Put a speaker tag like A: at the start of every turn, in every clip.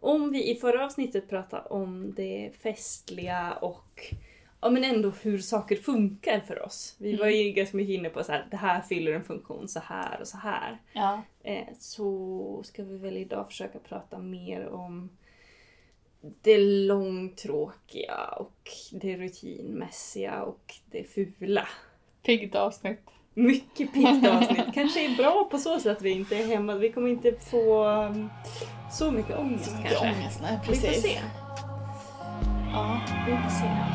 A: Om vi i förra avsnittet pratade om det festliga och ja, men ändå hur saker funkar för oss. Vi var ju ganska mycket inne på så här, det här fyller en funktion så här och så här.
B: Ja.
A: Eh, så ska vi väl idag försöka prata mer om det långtråkiga och det rutinmässiga och det fula.
B: Piggt avsnitt.
A: Mycket piggt avsnitt. Kanske är bra på så sätt att vi inte är hemma. Vi kommer inte få um, så mycket ångest kanske.
B: Ångest, nej
A: Vi
B: precis.
A: får se.
B: Ja.
A: Vi får se.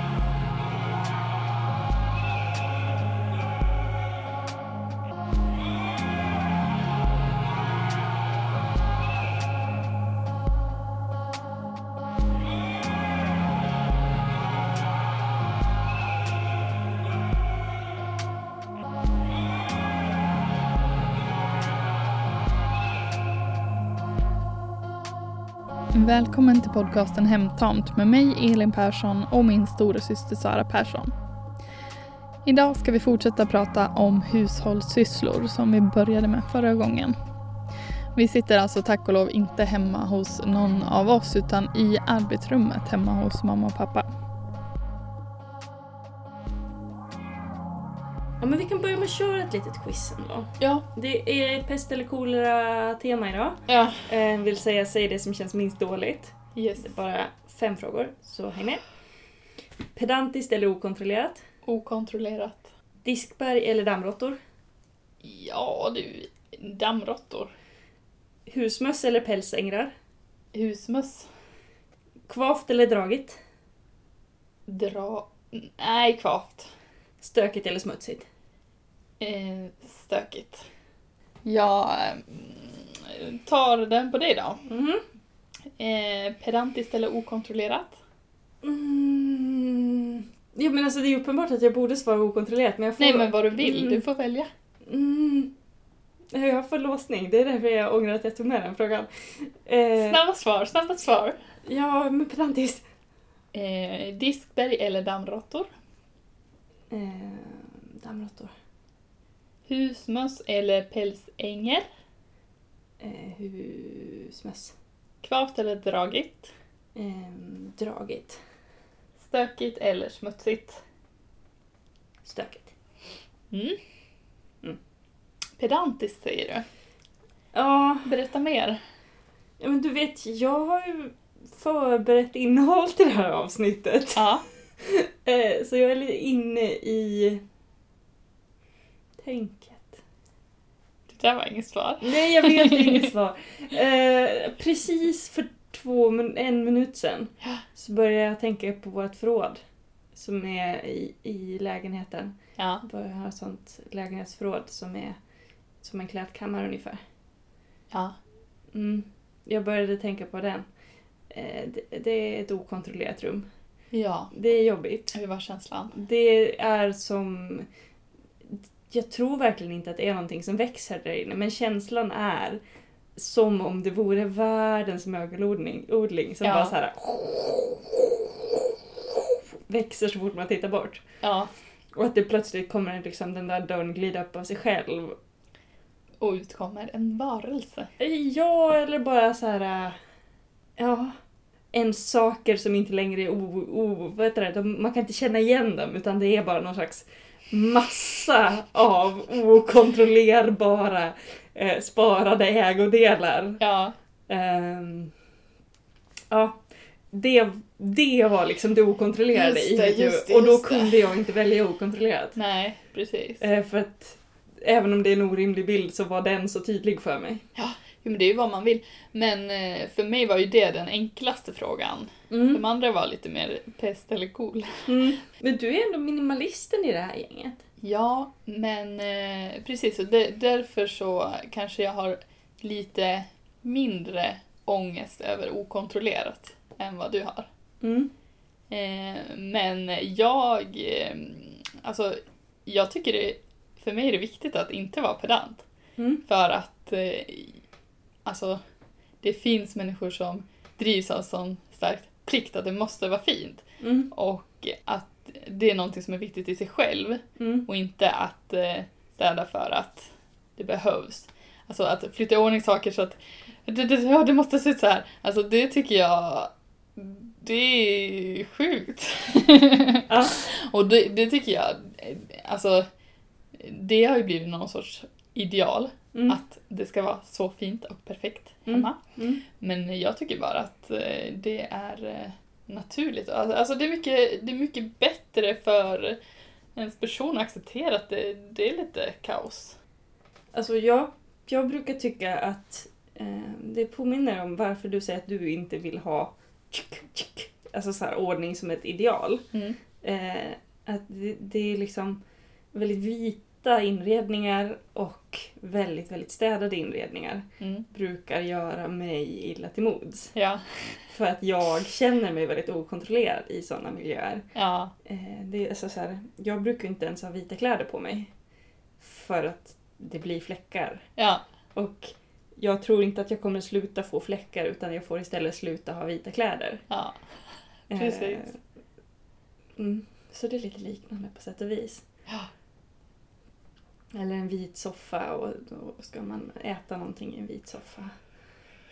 C: Välkommen till podcasten Hemtamt med mig Elin Persson och min stora syster Sara Persson. Idag ska vi fortsätta prata om hushållssysslor som vi började med förra gången. Vi sitter alltså tack och lov inte hemma hos någon av oss utan i arbetsrummet hemma hos mamma och pappa.
A: Ja, men vi kan börja med att köra ett litet quiz ändå.
B: Ja.
A: Det är pest eller kolera-tema idag.
B: Ja.
A: Eh, vill säga, säg det som känns minst dåligt.
B: Yes.
A: Det är bara fem frågor, så häng med. Pedantiskt eller okontrollerat?
B: Okontrollerat.
A: Diskberg eller dammråttor?
B: Ja du, dammråttor.
A: Husmöss eller pälsängrar?
B: Husmöss.
A: Kvavt eller dragigt?
B: Dra... Nej, kvavt.
A: Stökigt eller smutsigt?
B: Eh, stökigt. Jag mm, tar den på dig då.
A: Mhm.
B: Eh, pedantiskt eller okontrollerat?
A: Mm. Ja, men alltså, det är uppenbart att jag borde svara okontrollerat, men jag får...
B: Nej men vad du vill,
A: Mm.
B: du får välja.
A: Mm. Jag får låsning, det är därför jag ångrar att jag tog med den frågan. Eh,
B: Snabba svar, snabba svar.
A: Ja, men pedantiskt.
B: Eh, diskberg eller dammråttor?
A: Eh, dammråttor.
B: Husmöss eller pälsänger?
A: Eh, husmöss.
B: Kvavt eller dragigt?
A: Eh, dragigt.
B: Stökigt eller smutsigt?
A: Stökigt.
B: Mm.
A: Mm.
B: Pedantiskt säger du.
A: Ja,
B: Berätta mer.
A: ja, men du vet, jag har ju förberett innehåll till det här avsnittet.
B: Ja.
A: Eh, så jag är lite inne i tänket.
B: Det där var inget svar.
A: Nej, jag vet det är inget svar. Eh, precis för två, min- en minut sedan
B: Ja.
A: så började jag tänka på vårt förråd som är i, i lägenheten.
B: Ja.
A: Jag börjar ha ett sånt lägenhetsförråd som är som en klädkammare ungefär.
B: Ja.
A: Mm. Jag började tänka på den. Eh, det, det är ett okontrollerat rum.
B: Ja.
A: Det är jobbigt.
B: Hur var känslan?
A: Det är som... Jag tror verkligen inte att det är någonting som växer där inne, men känslan är som om det vore världens mögelodling odling, som
B: Ja.
A: bara så här växer så fort man tittar bort.
B: Ja.
A: Och att det plötsligt kommer liksom den där dörren glida upp av sig själv.
B: Och utkommer en varelse.
A: Ja, eller bara så här... äh, Ja. En saker som inte längre är o... o vad heter det? De, man kan inte känna igen dem utan det är bara någon slags massa av okontrollerbara eh, sparade ägodelar.
B: Ja.
A: Ehm, ja. Det, det var liksom det okontrollerade
B: Just
A: i
B: det,
A: mitt huvud.
B: just det,
A: och då
B: just det.
A: kunde jag inte välja okontrollerat.
B: Nej, precis.
A: Eh, för att även om det är en orimlig bild så var den så tydlig för mig.
B: Jo, men det är ju vad man vill. Men eh, för mig var ju det den enklaste frågan.
A: Mm.
B: De andra var lite mer pest eller cool.
A: Mm. Men du är ändå minimalisten i det här gänget.
B: Ja, men eh, precis. Och det- därför så kanske jag har lite mindre ångest över okontrollerat än vad du har.
A: Mm.
B: Eh, men jag... Eh, alltså, jag tycker det... För mig är det viktigt att inte vara pedant.
A: Mm.
B: För att... Eh, alltså, det finns människor som drivs av sån stark plikt att det måste vara fint.
A: Mm.
B: Och att det är någonting som är viktigt i sig själv
A: Mm.
B: och inte att eh, städa för att det behövs. Alltså att flytta i ordning saker så att Det, det, ja, det måste se ut så här. Alltså det tycker jag... Det är sjukt.
A: Ja.
B: Och det, det tycker jag... Alltså, det har ju blivit någon sorts ideal.
A: Mm.
B: Att det ska vara så fint och perfekt
A: Mm.
B: hemma.
A: Mm.
B: Men jag tycker bara att eh, det är eh, naturligt. Alltså alltså, det är, mycket, det är mycket bättre för ens person att acceptera att det, det är lite kaos.
A: Alltså jag, jag brukar tycka att eh, det påminner om varför du säger att du inte vill ha tsk, tsk, alltså så här ordning som ett ideal. Eh, att det, det är liksom väldigt vita inredningar och väldigt, väldigt städade inredningar
B: Mm.
A: brukar göra mig illa till mods.
B: Ja.
A: För att jag känner mig väldigt okontrollerad i sådana miljöer.
B: ja.
A: Eh, det är alltså så här, jag brukar inte ens ha vita kläder på mig. För att det blir fläckar.
B: Ja.
A: Och jag tror inte att jag kommer sluta få fläckar utan jag får istället sluta ha vita kläder.
B: Ja.
A: Eh,
B: Precis.
A: Mm, så det är lite liknande på sätt och vis. Eller en vit soffa och då ska man äta någonting i en vit soffa.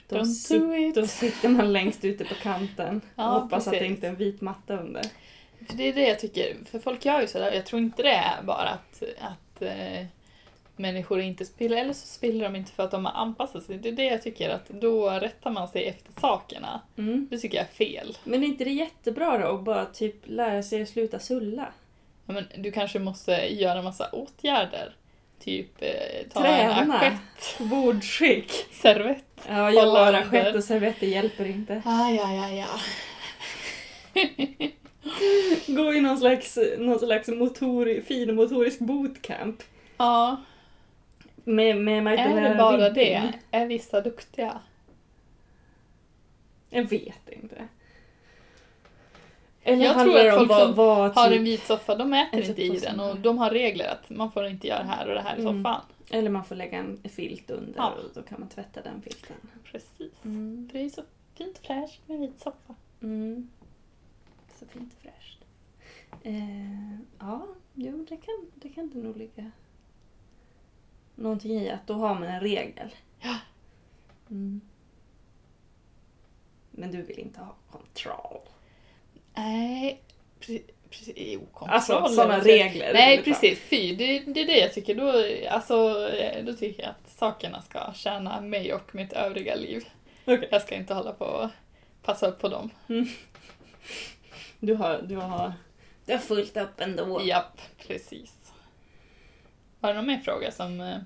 A: Då,
B: Don't
A: sit,
B: do it.
A: då sitter man längst ute på kanten och
B: Ja,
A: hoppas att det
B: precis.
A: inte är en vit matta under.
B: För det är det jag tycker, för folk gör ju sådär. Jag tror inte det är bara att, att eh, människor inte spiller, eller så spiller de inte för att de har anpassat sig. Det är det jag tycker, att då rättar man sig efter sakerna.
A: Mm.
B: Det tycker jag är fel.
A: Men är inte det jättebra då att bara typ lära sig att sluta sulla?
B: Ja, Men du kanske måste göra massa åtgärder. Typ eh, ta en
A: Träna.
B: assiett,
A: Bordskick!
B: servett.
A: Ja, jag
B: Hålla
A: bara
B: under.
A: skett och servetter hjälper inte.
B: Ah, ja, ja, ja.
A: Gå i någon slags, någon slags motor, finmotorisk bootcamp.
B: Ja,
A: Med, med Magdalena
B: är det bara
A: Ribbing.
B: det? Är vissa duktiga?
A: Jag vet inte. Eller
B: Jag tror
A: handlar
B: att
A: det om
B: folk
A: vad,
B: som
A: vad
B: Har
A: typ-
B: en vit soffa, de äter
A: En
B: inte i
A: soffa
B: den
A: som-
B: och de har regler att man får inte göra det här och det här i
A: Mm.
B: soffan.
A: Eller man får lägga en filt under
B: Ja.
A: och då kan man tvätta den filten.
B: Precis.
A: Mm.
B: Det är ju så fint fräscht med vit soffa.
A: Så fint och fräscht. Eh, ja, jo det kan, det kan det nog ligga någonting i att då har man en regel.
B: Ja.
A: Mm. Men du vill inte ha kontroll.
B: Nej, precis. precis jo, kontroll.
A: Alltså sådana
B: eller-
A: regler.
B: Nej,
A: vill du ta.
B: precis. Fy, det, det är det jag tycker. Då, alltså, eh, då tycker jag att sakerna ska tjäna mig och mitt övriga liv.
A: Okej.
B: Jag ska inte hålla på och passa upp på dem.
A: Du har, du har, du har fullt upp ändå.
B: Japp, precis. Var det någon mer fråga som... eh,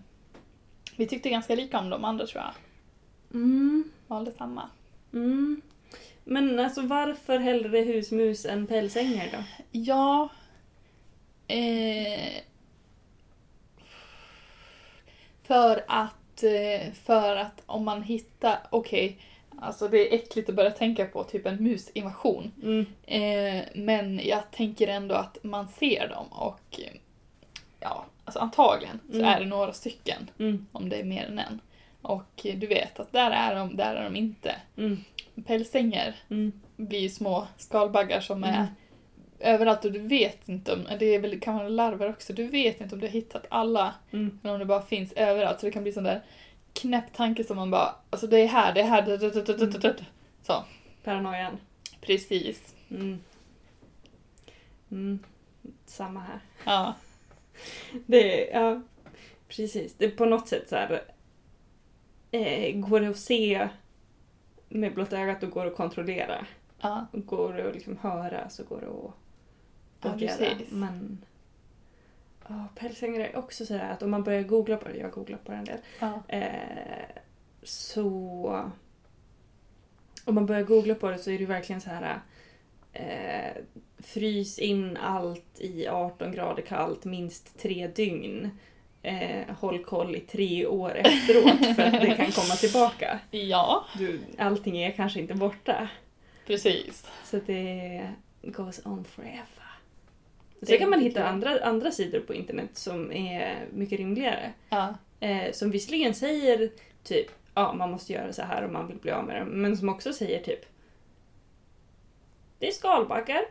B: Vi tyckte ganska lika om de andra tror jag.
A: Mm,
B: Valde samma.
A: mm. Men alltså varför hellre husmus än pälsänger då?
B: Ja. Eh, för att eh, för att om man hittar, okej, alltså det är äckligt att börja tänka på typ en musinvasion.
A: Mm.
B: Eh, men jag tänker ändå att man ser dem och eh, ja, alltså antagligen så
A: Mm.
B: är det några stycken
A: Mm.
B: om det är mer än en. Och eh, du vet att där är de, där är de inte.
A: Mm.
B: Pälsänger
A: Mm.
B: blir ju små skalbaggar som är
A: Mm.
B: överallt och du vet inte om, det är väl, kan vara larver också, du vet inte om du har hittat alla
A: Mm.
B: eller om det bara finns överallt. Så det kan bli sån där knäpp tanke som man bara, alltså det är här, det är här, det, det, det, det, det, det. Så,
A: Paranoian.
B: precis.
A: Mm. Mm. Samma här.
B: Ja,
A: Det, är- ja, precis. Det är på något sätt så här. Eh, går det att se med blotta ögat och går det att kontrollera.
B: ja,
A: Och går det att liksom höra så går det att
B: Ja,
A: åtgärda.
B: precis.
A: Men oh, pälsängare är också sådär att om man börjar googla på det, jag googlar på det en del.
B: ja.
A: Eh, så... Om man börjar googla på det så är det ju verkligen så här... Eh, frys in allt i 18 grader kallt minst tre dygn. Eh, håll koll i tre år efteråt för att det kan komma tillbaka.
B: Ja,
A: Du, allting är kanske inte borta.
B: precis.
A: Så att det goes on forever.
B: Det är
A: Sen kan man
B: inte
A: hitta
B: kul.
A: andra, andra sidor på internet som är mycket rimligare.
B: Ja,
A: Eh, som visserligen säger typ ja, man måste göra så här om man vill bli av med dem, men som också säger typ det är skalbaggar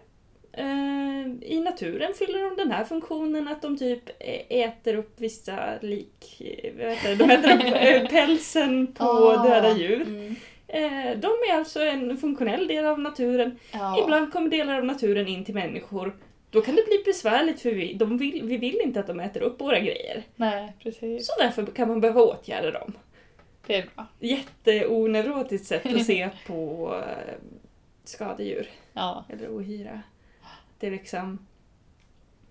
A: Eh, I naturen fyller de den här funktionen att de typ ä- äter upp vissa lik... eh, Vad heter det? De äter upp eh, pälsen på
B: Ah,
A: döda djur.
B: Mm.
A: Eh, de är alltså en funktionell del av naturen.
B: Ja.
A: Ibland kommer delar av naturen in till människor. Då kan det bli besvärligt för vi, de vill, vi vill inte att de äter upp våra grejer.
B: Nej, precis.
A: Så därför kan man behöva åtgärda dem.
B: Det är bra.
A: Jätteoneurotiskt sätt att se på eh, skadedjur.
B: Ja.
A: Eller ohyra. Det är liksom...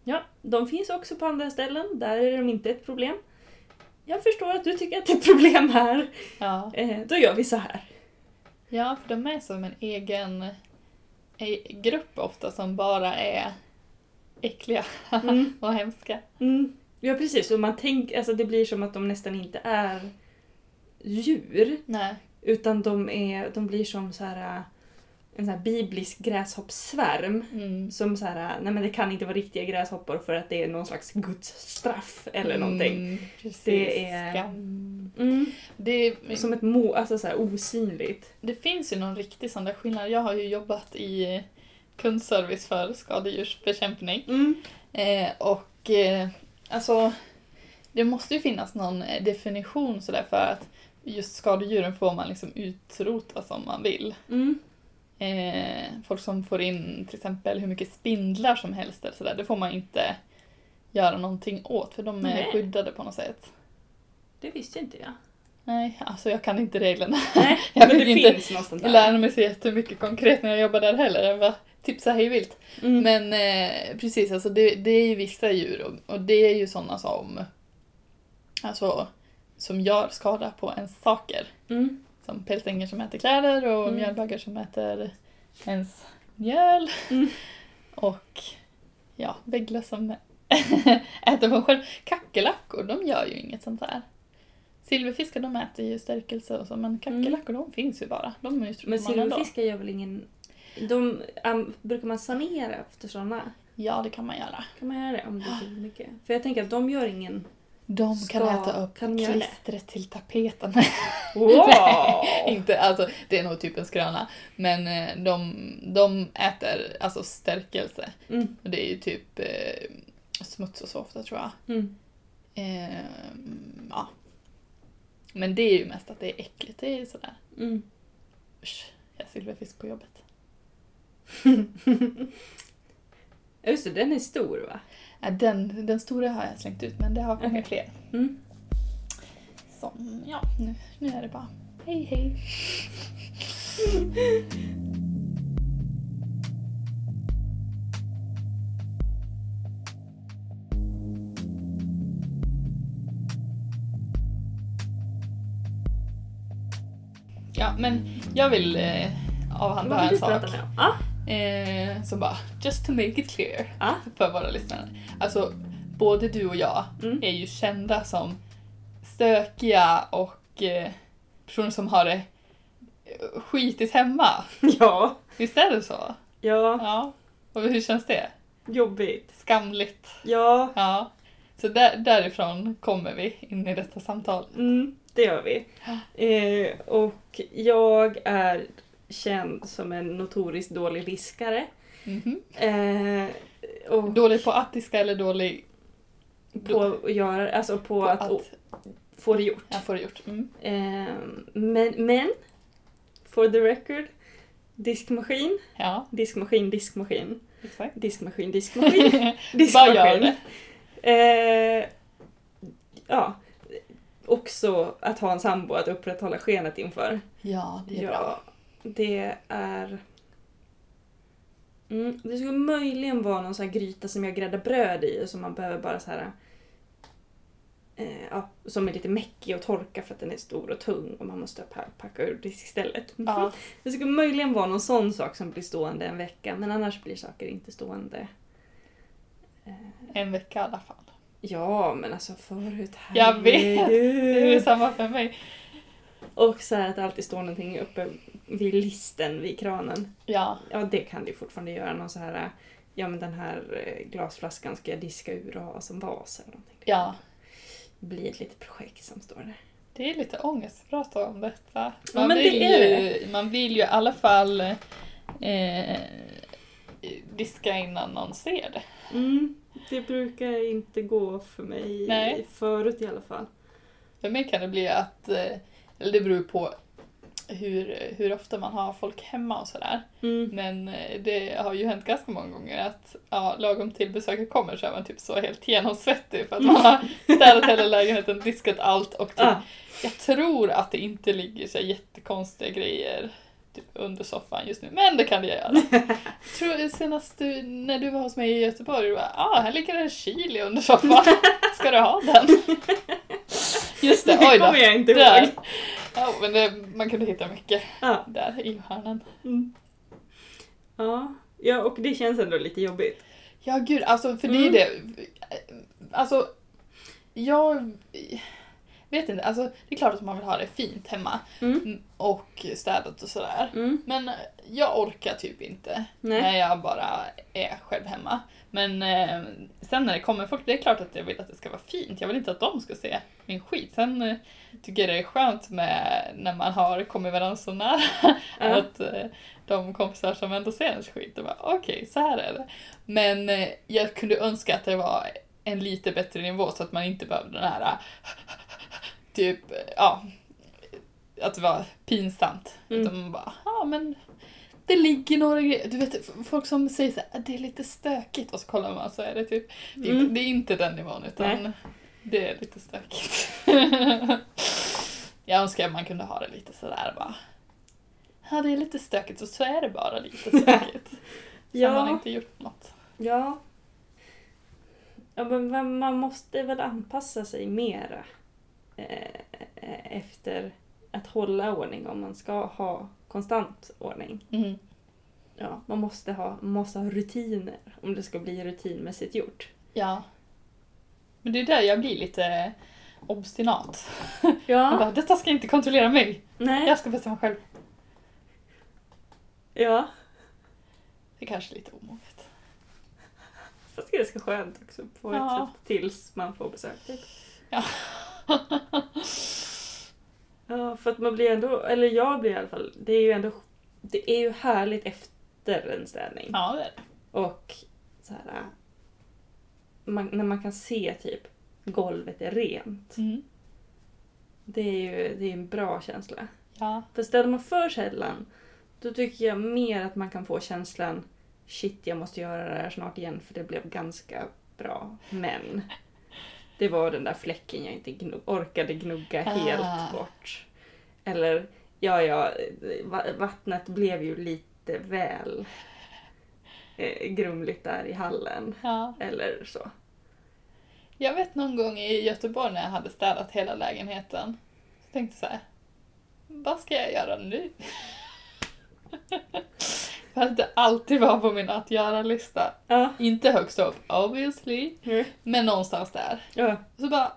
A: Ja, de finns också på andra ställen. Där är de inte ett problem. Jag förstår att du tycker att det är ett problem här.
B: ja.
A: Eh, då gör vi så här.
B: Ja, för de är som en egen eh, grupp ofta som bara är äckliga
A: Mm.
B: och hemska.
A: Mm. Ja, precis. Och man tänk, alltså det blir som att de nästan inte är djur.
B: Nej.
A: Utan de, är, de blir som så här, eh, en sån här biblisk gräshoppssvärm.
B: Mm.
A: Som så här, eh, nej men det kan inte vara riktiga gräshoppor för att det är någon slags gudsstraff eller någonting.
B: Mm, precis.
A: Det är-
B: Skam.
A: Mm.
B: Det,
A: Som ett må, alltså så här osynligt.
B: det finns ju någon riktig sån där skillnad. Jag har ju jobbat i kundservice för skadedjursbekämpning.
A: Mm.
B: Eh, och eh, alltså, det måste ju finnas någon eh, definition sådär för att just skadedjuren får man liksom utrota som man vill.
A: Mm.
B: Eh, folk som får in till exempel hur mycket spindlar som helst eller sådär, det får man inte göra någonting åt för de är
A: Nej.
B: skyddade på något sätt.
A: Det visste inte jag.
B: Nej, alltså jag kan inte reglerna.
A: Nej,
B: Jag
A: men
B: fick
A: det
B: inte
A: finns något sånt
B: Jag
A: där.
B: lärde mig så jättemycket konkret när jag jobbade där heller. Jag bara tipsade hej vilt.
A: Mm.
B: Men eh, precis, alltså det, det är ju vissa djur och, och det är ju sådana som alltså, som gör skada på ens saker.
A: Mm.
B: Som pälsänger som äter kläder och
A: Mm.
B: mjölbaggar som äter ens mjöl.
A: Mm.
B: Och ja, bägglor som äter på själv. Kackerlackor, de gör ju inget sånt där. Silverfiskar de äter ju stärkelse och så, men kackerlackor de finns ju bara. De är ju
A: Mm. Men
B: man ändå.
A: silverfiskar gör väl ingen... De, am- brukar man sanera efter sådana?
B: Ja, det kan man göra.
A: Kan man göra det om det är tillräckligt mycket? För jag tänker att de gör ingen...
B: De kan
A: Ska-
B: äta upp
A: kan de göra det?
B: klistret till tapeten.
A: Wow!
B: Inte, alltså, det är nog typ en skröna. Men eh, de, de äter alltså stärkelse.
A: Mm.
B: Och det är ju typ eh, smuts och så ofta tror jag.
A: Mm.
B: Eh, ja. Men det är ju mest att det är äckligt. Det är ju sådär,
A: Mm.
B: usch, jag har silverfisk på jobbet.
A: Ja, Just det, den är stor va?
B: Ja, Äh, den, den stora har jag slängt ut men det har kommit
A: Okej.
B: fler.
A: Mm.
B: Som, ja, nu, nu är det bara hej hej. Ja, men jag vill eh, avhandla
A: Vad vill
B: en
A: du prata
B: sak.
A: med om? Ah,
B: Eh, som bara, just to make it clear
A: Ja.
B: för våra lyssnare. Alltså, både du och jag
A: Mm.
B: är ju kända som stökiga och eh, personer som har det eh, skitigt hemma.
A: ja.
B: Visst är det så?
A: Ah. Ja,
B: Ja. Och hur känns det?
A: jobbigt.
B: Skamligt.
A: Ja,
B: Ja. Så där, därifrån kommer vi in i detta samtal.
A: mm, det gör vi. Eh, och jag är känd som en notoriskt dålig viskare.
B: Mhm.
A: Eh, och
B: Dålig på attiska eller dålig
A: på att göra, alltså på, att, å- få det gjort.
B: Jag får det gjort. Mm.
A: Ehm, men, men, for the record, diskmaskin,
B: Ja,
A: diskmaskin, diskmaskin,
B: exakt.
A: diskmaskin, diskmaskin,
B: Bara gör
A: diskmaskin.
B: det.
A: Eh, ja, också att ha en sambo att upprätthålla skenet inför.
B: Ja, det är
A: ja,
B: bra.
A: det är... Mm, det skulle möjligen vara någon sån här gryta som jag gräddar bröd i och som man behöver bara så här... Eh, ja, som är lite mäckig och torka för att den är stor och tung och man måste pa- packa ur diskstället.
B: Ja.
A: Det skulle möjligen vara någon sån sak som blir stående en vecka men annars blir saker inte stående.
B: En vecka i alla fall.
A: Ja, men alltså förut,
B: Jag vet. Det är
A: herregud.
B: samma för mig.
A: Och så här att det alltid står någonting uppe vid listen vid kranen.
B: Ja,
A: Ja, det kan du fortfarande göra. Någon så här, ja men den här eh, glasflaskan ska jag diska ur och ha som vas eller någonting.
B: ja.
A: Det blir ett litet projekt som står där.
B: Det är lite ångest att prata om detta.
A: Ja, men det
B: vill
A: är
B: ju, man vill ju i alla fall eh, diska innan någon ser det.
A: Mm, det brukar inte gå för mig
B: Nej.
A: förut i alla fall.
B: För mig kan det bli att, eh, eller det beror på hur, hur ofta man har folk hemma och sådär.
A: Mm.
B: Men eh, det har ju hänt ganska många gånger att ja, lagom till besöket kommer så är man typ så helt genomsvettig för att man har städat hela lägenheten, diskat allt och typ,
A: Ah,
B: jag tror att det inte ligger så här jättekonstiga grejer typ, under soffan just nu, men det kan det göra. Jag tror senast du, när du var hos mig i Göteborg, du bara ah, här ligger en chili under soffan, ska du ha den? Just det,
A: det
B: oj då.
A: kommer jag inte
B: Där.
A: ihåg.
B: Ja, men det, man kunde hitta mycket
A: Ah,
B: där i hörnen.
A: mm. Ja. ja, och det känns ändå lite jobbigt.
B: Ja gud, alltså för det är
A: Mm.
B: det. Alltså, jag vet inte. Alltså, det är klart att man vill ha det fint hemma
A: Mm.
B: och städat och sådär.
A: Mm.
B: Men jag orkar typ inte
A: Nej.
B: när jag bara är själv hemma. Men eh, sen när det kommer folk, det är klart att jag vill att det ska vara fint. Jag vill inte att de ska se min skit. Sen eh, tycker jag det är skönt med när man har kommit varandra så nära.
A: Ja.
B: Att eh, de kompisar som ändå ser ens skit, de bara okej, så här är det. Men eh, jag kunde önska att det var en lite bättre nivå så att man inte behövde den här typ, ja, att det var pinsamt.
A: Mm.
B: Utan man bara, ja men det ligger några grejer. Du vet f- folk som säger så här, det är lite stökigt och så kollar man så är det typ, det är,
A: Mm.
B: inte, det är inte den nivån utan
A: Nej.
B: det är lite stökigt. jag önskar att man kunde ha det lite sådär bara. Ja, det är lite stökigt och så är det bara lite stökigt. ja. Har man
A: Ja,
B: inte gjort något.
A: ja. ja men man- man måste väl anpassa sig mera eh, efter att hålla ordning om man ska ha konstant ordning.
B: Mm.
A: Ja, man måste ha, man måste ha rutiner om det ska bli rutinmässigt gjort.
B: Ja. Men det är där jag blir lite obstinat. Jag
A: Ja,
B: bara, detta ska inte kontrollera mig.
A: nej,
B: Jag ska bestämma själv.
A: ja.
B: Det är kanske är lite omoget.
A: Fast det är ganska skönt också på ett
B: Ja.
A: sätt tills man får besök. Typ.
B: Ja.
A: Ja, för att man blir ändå, eller jag blir i alla fall, det är ju ändå, det är ju härligt efter en städning.
B: ja, det är det.
A: Och så här, man, när man kan se typ golvet är rent.
B: Mm.
A: Det är ju det är en bra känsla.
B: Ja.
A: För ställer man för sällan, då tycker jag mer att man kan få känslan shit jag måste göra det här snart igen för det blev ganska bra. Men det var den där fläcken jag inte gnu- orkade gnugga
B: Ah.
A: helt bort. Eller ja, ja, va- vattnet blev ju lite väl eh, grumligt där i hallen.
B: ja.
A: Eller så.
B: Jag vet någon gång i Göteborg när jag hade städat hela lägenheten. Så tänkte jag så här. Vad ska jag göra nu? För att det alltid var på min att göra-lista.
A: Ja.
B: Inte högst upp, obviously. Men någonstans där.
A: Mm. ja.
B: Och så bara...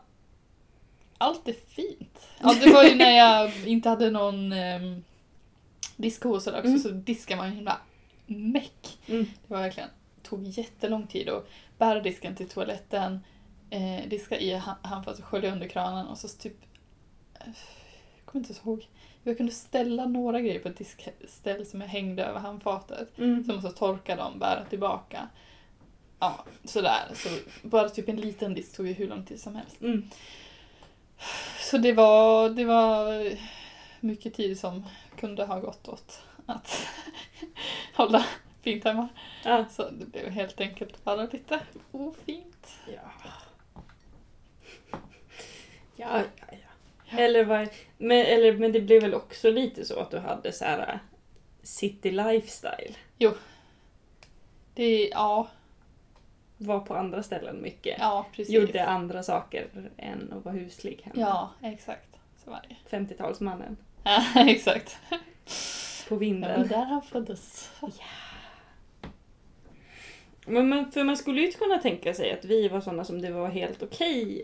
B: Allt är fint. Ja, det var ju när jag inte hade någon um, diskos eller också,
A: Mm.
B: så diskade man ju himla meck.
A: Mm.
B: Det var verkligen, tog jättelång tid att bära disken till toaletten, eh, diska i ha- handfatet, skölja under kranen och så typ... Jag kommer inte ens ihåg. Jag kunde ställa några grejer på ett diskställ som jag hängde över handfatet.
A: Mm.
B: Så jag måste torka dem, bära tillbaka. Ja, sådär. Så bara typ en liten disk tog ju hur lång tid som helst.
A: Mm.
B: Så det var, det var mycket tid som kunde ha gått åt att hålla fint hemma.
A: Ja.
B: Så Alltså, det blev helt enkelt bara lite ofint.
A: Ja. Ja, ja, ja. Eller, vad, men, eller, men det blev väl också lite så att du hade så här äh, city lifestyle.
B: Det, ja,
A: Var på andra ställen mycket.
B: ja precis.
A: Gjorde andra saker än att vara huslig hemma.
B: Ja, exakt. Så var det.
A: 50-talsmannen
B: Ja, exakt.
A: på
B: Det var
A: vinden.
B: där han föddes.
A: Men, men, för man skulle ju kunna tänka sig att vi var sådana som det var helt okej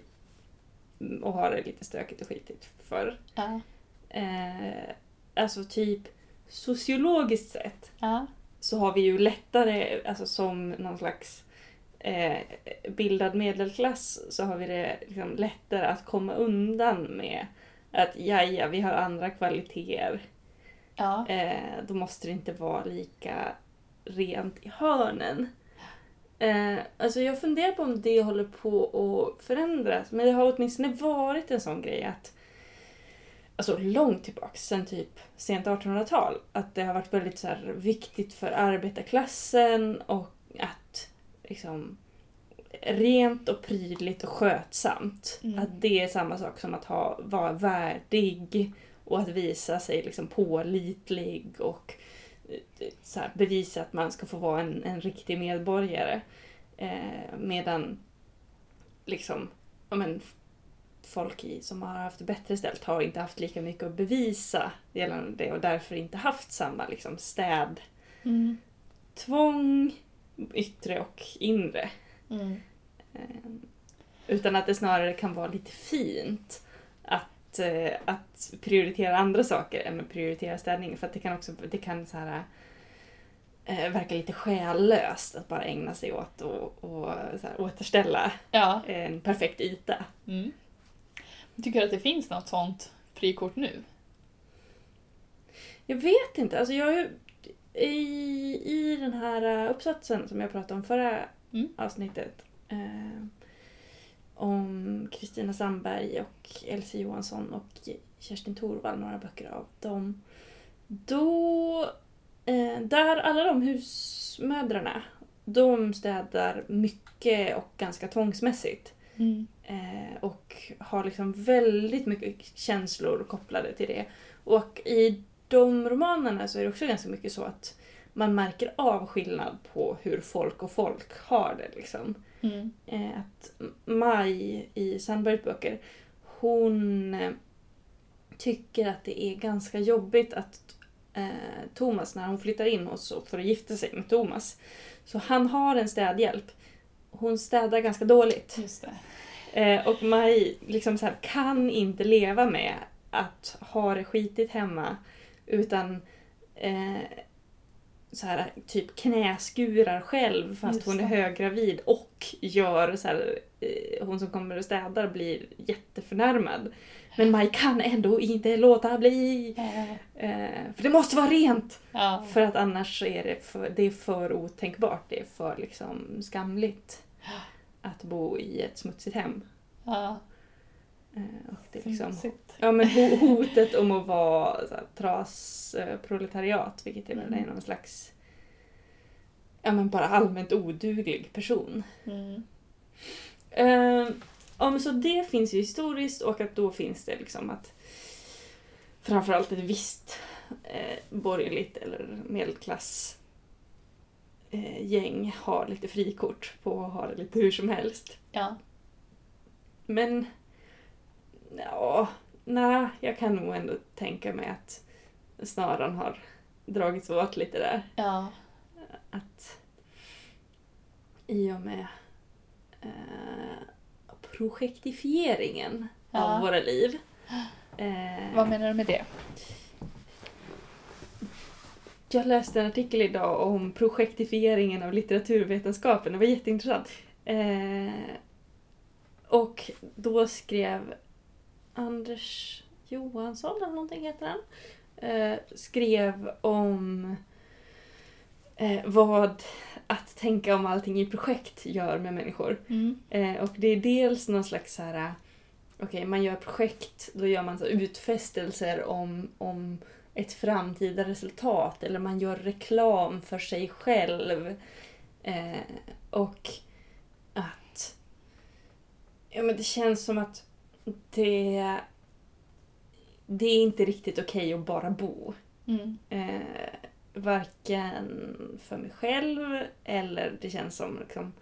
A: att ha det lite stökigt och skitigt förr.
B: Ja,
A: Eh, alltså typ sociologiskt sett
B: ja,
A: så har vi ju lättare, alltså som någon slags eh, bildad medelklass, så har vi det liksom lättare att komma undan med att jaja, vi har andra kvaliteter.
B: ja.
A: Eh, då måste det inte vara lika rent i hörnen. Eh, alltså jag funderar på om det håller på att förändras, men det har åtminstone varit en sån grej att Alltså långt tillbaks, sen typ sent 1800-tal, att det har varit väldigt så här viktigt för arbetarklassen och att liksom rent och prydligt och skötsamt.
B: Mm.
A: Att det är samma sak som att ha, vara värdig och att visa sig liksom pålitlig och eh, så här, bevisa att man ska få vara en, en riktig medborgare. Eh, medan liksom, ja men, f- folk i, som har haft det bättre ställt har inte haft lika mycket att bevisa gällande det och därför inte haft samma liksom, städtvång,
B: Mm.
A: yttre och inre.
B: Mm.
A: Eh, Utan att det snarare kan vara lite fint att, eh, att prioritera andra saker än att prioritera städning. För att det kan också det kan så här, eh, verka lite själlöst att bara ägna sig åt och, och så här, återställa
B: Ja.
A: en perfekt yta.
B: Mm. Tycker du att det finns något sånt frikort nu?
A: Jag vet inte, alltså jag är ju- i, i den här eh, uppsatsen som jag pratade om förra
B: Mm.
A: avsnittet eh, om Kristina Sandberg och Elsie Johansson och Kerstin Thorvall, några böcker av dem. Då, eh, där alla de husmödrarna, de städar mycket och ganska tvångsmässigt. Eh, och har liksom väldigt mycket känslor kopplade till det. Och i de romanerna så är det också ganska mycket så att man märker av skillnad på hur folk och folk har det. Liksom.
B: Mm.
A: Eh, att Maj i Sandbergs böcker, hon eh, tycker att det är ganska jobbigt att eh, Thomas, när hon flyttar in hos och för att gifta sig med Thomas, så han har en städhjälp. Hon städar ganska dåligt.
B: Just det.
A: Eh, och Maj liksom så här, kan inte leva med att ha det skitigt hemma utan eh, så här, typ knäskurar själv fast
B: Just
A: hon är
B: det.
A: höggravid och gör så här, eh, hon som kommer och städar blir jätteförnärmad. Men Maj kan ändå inte låta bli! Eh, för det måste vara rent!
B: Ja.
A: För att annars är det för, det är för otänkbart, det är för liksom skamligt att bo i ett smutsigt hem.
B: ja.
A: Eh, Och det är liksom,
B: Smutsigt.
A: ja, men ho- hotet om att vara så här, trasproletariat, vilket är väl
B: Mm.
A: någon slags ja, men bara allmänt oduglig person.
B: Mm.
A: Eh, ja, men så det finns ju historiskt och att då finns det liksom att framförallt ett visst eh, borgerligt eller medelklass eh, gäng har lite frikort på att ha det lite hur som helst.
B: Ja.
A: Men... Ja, nej, jag kan nog ändå tänka mig att snaran har dragits åt lite där.
B: Ja.
A: Att i och med eh, projektifieringen
B: Ja.
A: av våra liv. eh,
B: Vad menar du med det?
A: Jag läste en artikel idag om projektifieringen av litteraturvetenskapen. Det var jätteintressant. Eh, och då skrev Anders Johansson, eller någonting heter han, eh, skrev om eh, vad att tänka om allting i projekt gör med människor.
B: Mm.
A: Eh, och det är dels någon slags så här... eh, Okej, man gör projekt, då gör man så här utfästelser om, om ett framtida resultat eller man gör reklam för sig själv. Eh, och att... Ja, men det känns som att det... Det är inte riktigt okej att bara bo.
B: Mm.
A: Eh, varken för mig själv eller det känns som liksom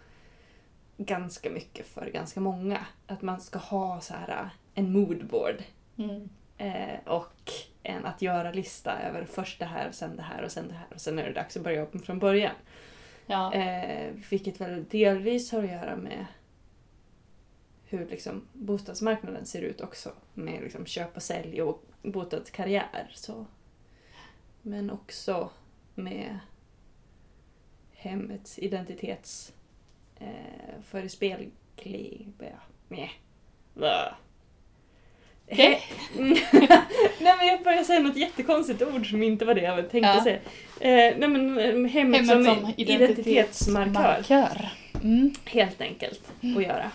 A: ganska mycket för ganska många. Att man ska ha så här eh, en moodboard
B: Mm.
A: eh, och en att göra-lista över först det här, sen det här och sen det här och sen är det dags att börja om från början.
B: Ja.
A: Eh, vilket väl delvis har att göra med hur liksom bostadsmarknaden ser ut också med liksom köp och sälj och bostadskarriär. Så. Men också med hemmets identitets eh, förespegling... ja, nej, blah.
B: Okej.
A: Mm. nej men jag började säga något jättekonstigt ord som inte var det jag tänkte
B: Ja.
A: säga. Eh, nej men eh, hemmet,
B: Hemmet
A: som,
B: som
A: identitetsmarkör.
B: Markör. Mm.
A: Helt enkelt att göra.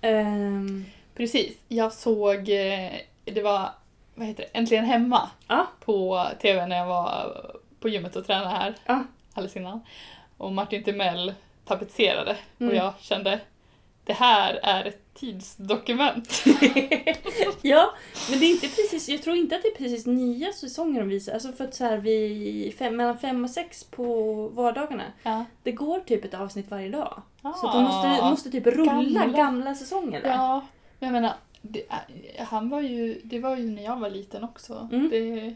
A: Ehm,
B: Precis. Jag såg, eh, det var, vad heter det, Äntligen Hemma
A: Ja.
B: på TV när jag var på gymmet och tränade här
A: Ja.
B: alldeles innan. Och Martin Timell tapetserade
A: Mm.
B: och jag kände det här är ett tidsdokument.
A: ja, men det är inte precis, jag tror inte att det är precis nya säsonger de visar. Alltså för att så här, vi, fem, mellan fem och sex på vardagarna,
B: Ja.
A: det går typ ett avsnitt varje dag.
B: Ah.
A: Så att de måste, måste typ rulla gamla,
B: Gamla.
A: säsonger. där.
B: Ja, men jag menar, det, är- han var ju, det var ju när jag var liten också.
A: Mm.
B: Det,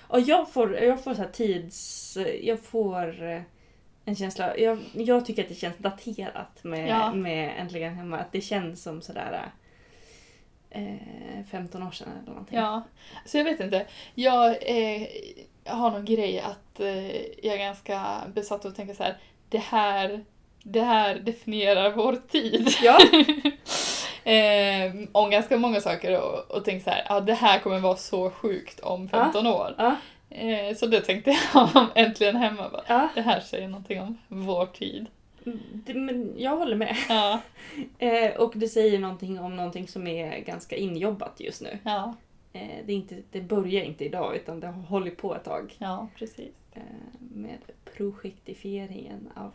A: Och jag får, jag får så här tids... Jag får eh, en känsla... Jag, jag tycker att det känns daterat med,
B: Ja.
A: med Äntligen Hemma. Att det känns som sådär... Eh, 15 år sedan eller någonting.
B: Ja, så jag vet inte. Jag eh, har någon grej att eh, jag är ganska besatt av att tänka så här. Det här, det här definierar vår tid.
A: Ja.
B: eh, om ganska många saker och, och tänker så här. Ja, det här kommer vara så sjukt om 15 år.
A: Ja.
B: Eh, så det tänkte jag om äntligen hemma. Bara,
A: Ja,
B: det här säger någonting om vår tid.
A: det, men jag håller med.
B: Ja,
A: Eh, och det säger någonting om någonting som är ganska injobbat just nu.
B: ja,
A: Eh, det, är inte, det börjar inte idag utan det har hållit på ett tag.
B: ja precis.
A: Eh, med projektifieringen av...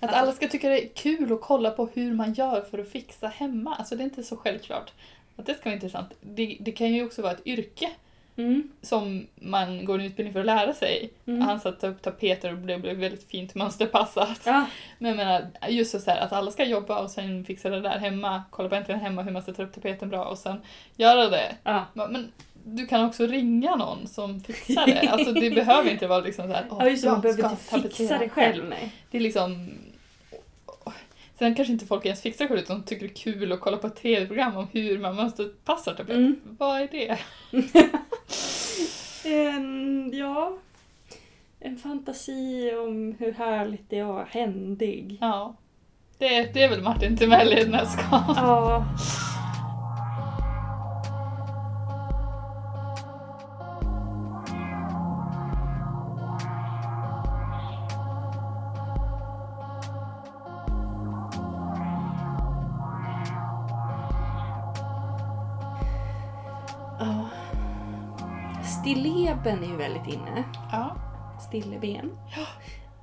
B: Att alla ska tycka det är kul att kolla på hur man gör för att fixa hemma. Alltså det är inte så självklart att det ska vara intressant. Det, det kan ju också vara ett yrke
A: Mm.
B: som man går en utbildning för att lära sig.
A: Mm.
B: Han satte upp tapeter och det blev väldigt fint mönsterpassat.
A: Ja.
B: Men jag menar, just så här, att alla ska jobba och sen fixa det där hemma, kolla på Äntligen Hemma hur man sätter upp tapeten bra och sen göra det.
A: Ja.
B: Men- Men du kan också ringa någon som fixar det. Alltså det behöver inte vara liksom såhär,
A: Ja just det, man behöver
B: ska
A: inte fixa
B: tapetsera
A: det själv. Nej.
B: det är liksom... Sen kanske inte folk ens fixar själv utan de tycker det är kul att kolla på ett tv-program om hur man mönsterpassar typ.
A: Mm.
B: Vad är det?
A: En, ja. En fantasi om hur härligt det är att vara händig.
B: Ja. Det, det är väl Martin Timell i ett nötskal.
A: Ja. Ja. Stilleben är ju väldigt inne.
B: Ja.
A: Stilleben.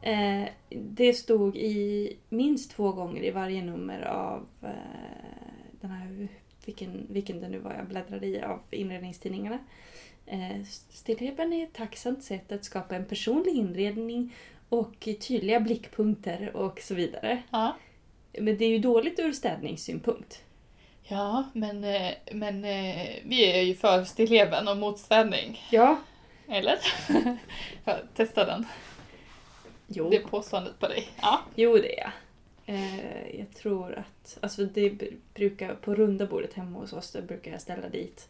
A: Eh, det stod i minst två gånger i varje nummer av eh, den här, vilken, vilken det nu var jag bläddrade i, av inredningstidningarna. Eh, stilleben är ett tacksamt sätt att skapa en personlig inredning och tydliga blickpunkter och så vidare.
B: Ja.
A: Men det är ju dåligt ur städningssynpunkt.
B: Ja, men, eh, men eh, vi är ju för stilleben och motstädning.
A: Ja.
B: Eller? ja, testa den.
A: Jo.
B: Det är påståendet på dig. Ja.
A: Jo, det är jag. Eh, jag tror att, alltså det br- brukar, på runda bordet hemma hos oss, där brukar jag ställa dit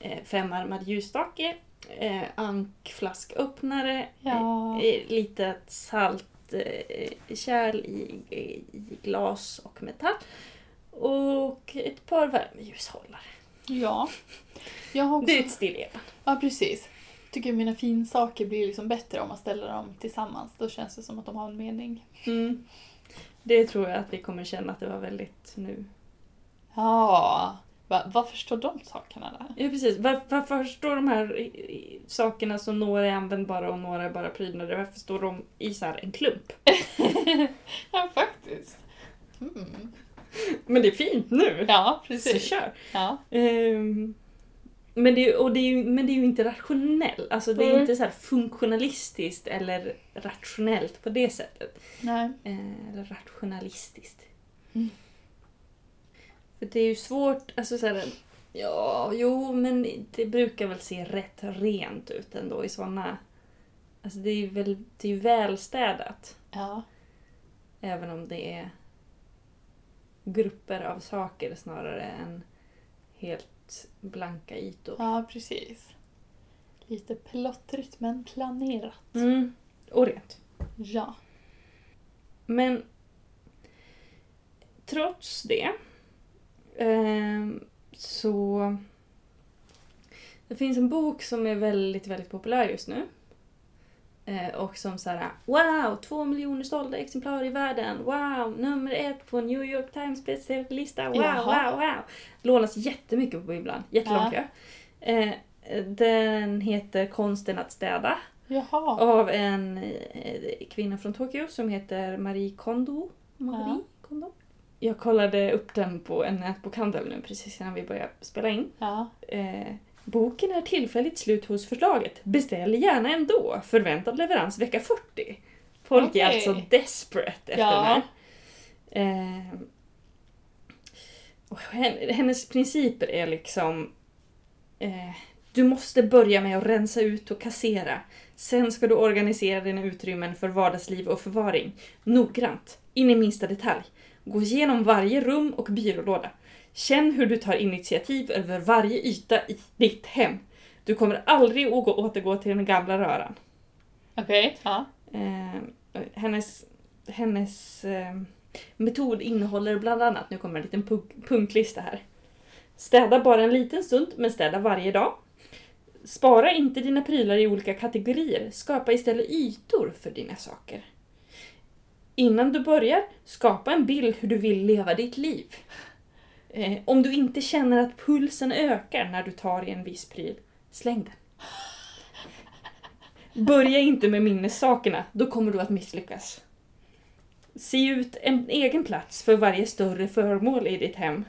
A: eh, femarmad ljusstake, eh, ankflasköppnare,
B: Ja.
A: eh, litet saltkärl eh, kärl i, i i glas och metall och ett par värmeljushållare.
B: Ja. Jag har också...
A: Det är ett stilleben.
B: Ja, precis. Tycker mina finsaker blir liksom bättre om man ställer dem tillsammans. Då känns det som att de har en mening.
A: Mm. Det tror jag att vi kommer känna att det var väldigt nu.
B: Ja, va, varför står de sakerna där?
A: Ja precis. Var, varför står de här i- i- sakerna som några är användbara och några är bara prydnader, varför står de i så här en klump?
B: ja, faktiskt. Mm.
A: Men det är fint nu!
B: Ja,
A: så
B: precis.
A: kör!
B: Ja.
A: Ehm, men, det, är- och det är, ju- men det är ju inte rationellt, alltså det är
B: Mm.
A: inte så här funktionalistiskt eller rationellt på det sättet.
B: Nej.
A: Eh, eller rationalistiskt.
B: Mm.
A: För det är ju svårt, alltså så här, ja, jo, men det brukar väl se rätt rent ut ändå i såna... Alltså det är ju väl, det är ju välstädat,
B: Ja.
A: även om det är grupper av saker snarare än helt blanka ytor.
B: ja, precis. Lite plottrigt men planerat.
A: Mm. Och rent.
B: Ja.
A: Men trots det ehm, så... Det finns en bok som är väldigt, väldigt populär just nu. Eh, och som såhär Wow! Två miljoner sålda exemplar i världen! Wow! Nummer ett på New York Times bestsellerlista! Wow,
B: Jaha.
A: wow, wow! Lånas jättemycket på ibland. Jättelång kö. Eh, den heter Konsten att städa
B: Jaha.
A: av en eh, kvinna från Tokyo som heter Marie Kondo. Marie
B: Ja.
A: Kondo? Jag kollade upp den på en nätbokhandel nu precis innan vi började spela in.
B: Ja.
A: Eh, boken är tillfälligt slut hos förlaget. Beställ gärna ändå. Förväntad leverans vecka 40. Folk
B: Okej.
A: är alltså desperate efter
B: Ja.
A: den här. Eh, och hen- hennes principer är liksom... Eh, du måste börja med att rensa ut och kassera. Sen ska du organisera dina utrymmen för vardagsliv och förvaring. Noggrant, in i minsta detalj. Gå igenom varje rum och byrålåda. Känn hur du tar initiativ över varje yta i ditt hem. Du kommer aldrig att gå- återgå till den gamla röran.
B: Okej. Ja.
A: Eh, hennes hennes eh, metod innehåller bland annat, nu kommer en liten punk- punktlista här. Städa bara en liten stund, men städa varje dag. Spara inte dina prylar i olika kategorier, skapa istället ytor för dina saker. Innan du börjar, skapa en bild hur du vill leva ditt liv. Eh, om du inte känner att pulsen ökar när du tar i en viss pryl, släng den. Börja inte med minnessakerna, då kommer du att misslyckas. Se ut en egen plats för varje större föremål i ditt hem.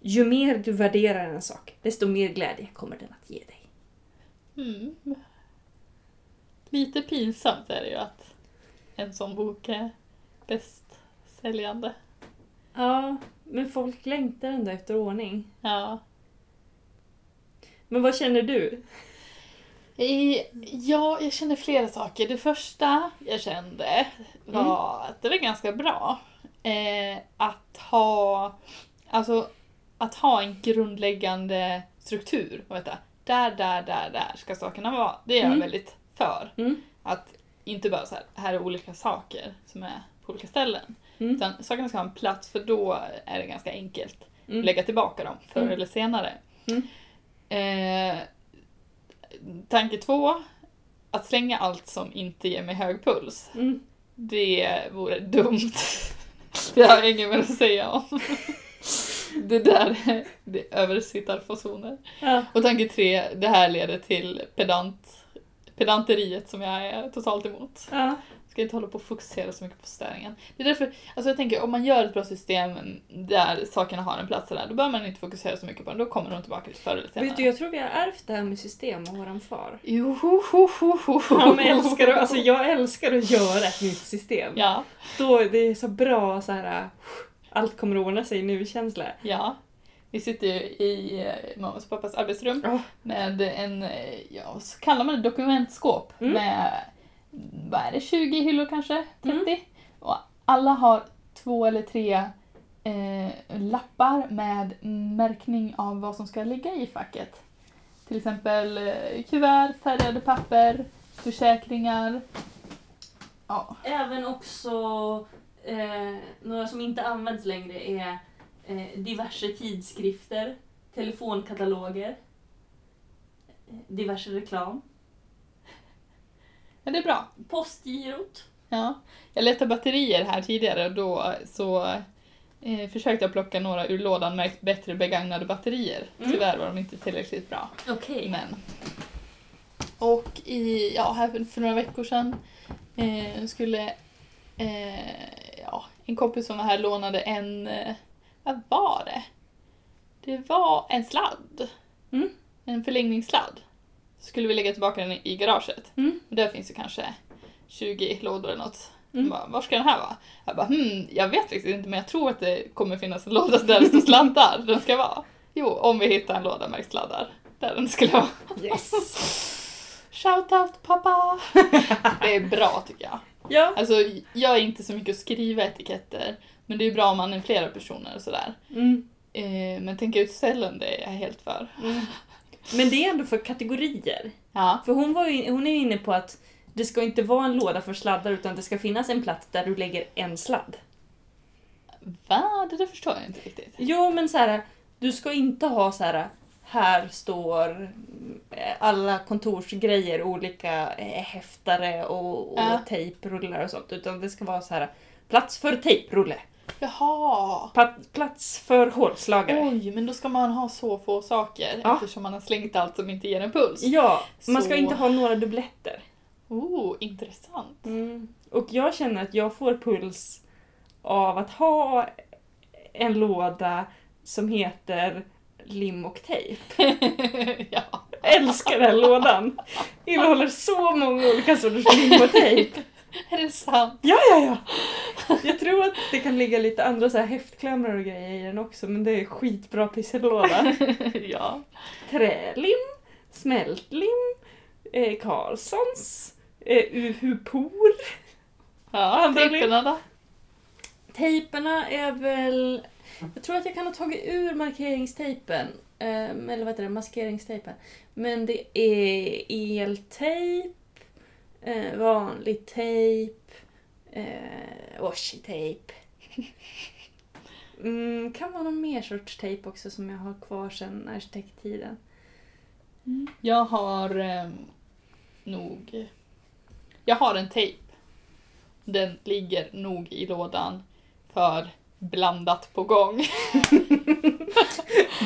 A: Ju mer du värderar en sak, desto mer glädje kommer den att ge dig.
B: Mm. Lite pinsamt är det ju att en sån bok är bäst säljande.
A: Ja, men folk längtar ändå efter ordning.
B: Ja.
A: Men vad känner du?
B: I, ja, jag känner flera saker. Det första jag kände
A: Mm.
B: var att det var ganska bra. Eh, att ha alltså att ha en grundläggande struktur. Och veta, där, där, där, där ska sakerna vara. Det är jag
A: Mm.
B: väldigt för.
A: Mm.
B: Att inte bara så här, här är olika saker som är på olika ställen.
A: Mm.
B: Utan sakerna ska ha en plats för då är det ganska enkelt
A: Mm.
B: lägga tillbaka dem förr
A: Mm.
B: eller senare.
A: Mm.
B: Eh, tanke två, att slänga allt som inte ger mig hög puls.
A: Mm.
B: Det vore dumt. Det har jag inget mer att säga om. Det där det är översittarfasoner.
A: Ja.
B: Och tanke tre, det här leder till pedant, pedanteriet som jag är totalt emot.
A: Ja.
B: Ska inte hålla på och fokusera så mycket på städningen. Det är därför, alltså jag tänker om man gör ett bra system där sakerna har en plats och där, då behöver man inte fokusera så mycket på dem. Då kommer de tillbaka lite förr eller senare.
A: Vet du, jag tror vi har ärvt det här med system av våran far.
B: Jo, ho, ho, ho, ho, ho.
A: Han älskar att, alltså jag älskar att göra ett nytt system.
B: Ja,
A: Då är det är så bra så här. äh, allt kommer att ordna sig nu-känsla.
B: ja. Vi sitter ju i eh, mammas och pappas arbetsrum
A: Ja.
B: med en, eh, ja, vad så kallar man det, dokumentskåp
A: Mm.
B: med, vad är det, 20 hyllor kanske? 30?
A: Mm.
B: Och alla har två eller tre eh, lappar med märkning av vad som ska ligga i facket. Till exempel eh, kuvert, färgade papper, försäkringar. Ja,
A: Även också eh, några som inte används längre är eh, diverse tidskrifter, telefonkataloger, eh, diverse reklam,
B: men det är bra.
A: postgirot.
B: Ja, jag letade batterier här tidigare och då så eh, försökte jag plocka några ur lådan märkt bättre begagnade batterier.
A: Mm.
B: Tyvärr var de inte tillräckligt bra.
A: Okej.
B: Men. Och i, ja, här för, för några veckor sedan eh, skulle eh, ja, en kompis som var här lånade en, eh, vad var det? Det var en sladd.
A: Mm.
B: En förlängningssladd. Skulle vi lägga tillbaka den i- i garaget.
A: Mm.
B: Och där finns det kanske 20 lådor eller något.
A: Mm.
B: Bara, var ska den här vara? Jag bara, hmm, jag vet faktiskt inte men jag tror att det kommer finnas en låda där det står slantar. Den ska vara. Jo, om vi hittar en låda märkt sladdar. Där den skulle vara.
A: Yes.
B: Shoutout pappa! Det är bra tycker jag.
A: Ja.
B: Alltså jag är inte så mycket att skriva etiketter. Men det är bra om man är flera personer och sådär.
A: Mm.
B: Eh, men tänka ut cellen, det är jag helt för.
A: Mm. Men det är ändå för kategorier.
B: Ja.
A: För hon, var ju, hon är ju inne på att det ska inte vara en låda för sladdar utan det ska finnas en plats där du lägger en sladd.
B: Va? Det där förstår jag inte riktigt.
A: Jo, men så här. Du ska inte ha så här, här står eh, alla kontorsgrejer, olika eh, häftare och, och
B: Ja.
A: tejprullar och sånt. Utan det ska vara så här, plats för tejprulle,
B: Jaha!
A: pa- plats för hålslagare.
B: Oj, men då ska man ha så få saker
A: Ja.
B: eftersom man har slängt allt som inte ger en puls.
A: Ja, man ska
B: Så.
A: inte ha några dubbletter.
B: Oh, intressant.
A: Och jag känner att jag får puls av att ha en låda som heter lim och tejp.
B: ja.
A: Jag älskar den lådan! Innehåller så många olika sorters lim och tejp.
B: Är det sant?
A: Ja, ja, ja! Jag tror att det kan ligga lite andra så här häftklämmar och grejer i den också men det är skitbra pyssellåda.
B: ja.
A: Trälim, smältlim, eh, Carlssons, eh, Uhu-por.
B: Ja,
A: Andra
B: tejperna då?
A: Tejperna är väl... Jag tror att jag kan ha tagit ur markeringstejpen. ehm, Eller vad heter det? Maskeringstejpen. Men det är eltejp, eh, vanlig tejp, eh, washi-tejp. Mm, kan vara någon mer sorts tejp också som jag har kvar sedan arkitekttiden.
B: Jag har eh, nog... Jag har en tejp. Den ligger nog i lådan för blandat på gång.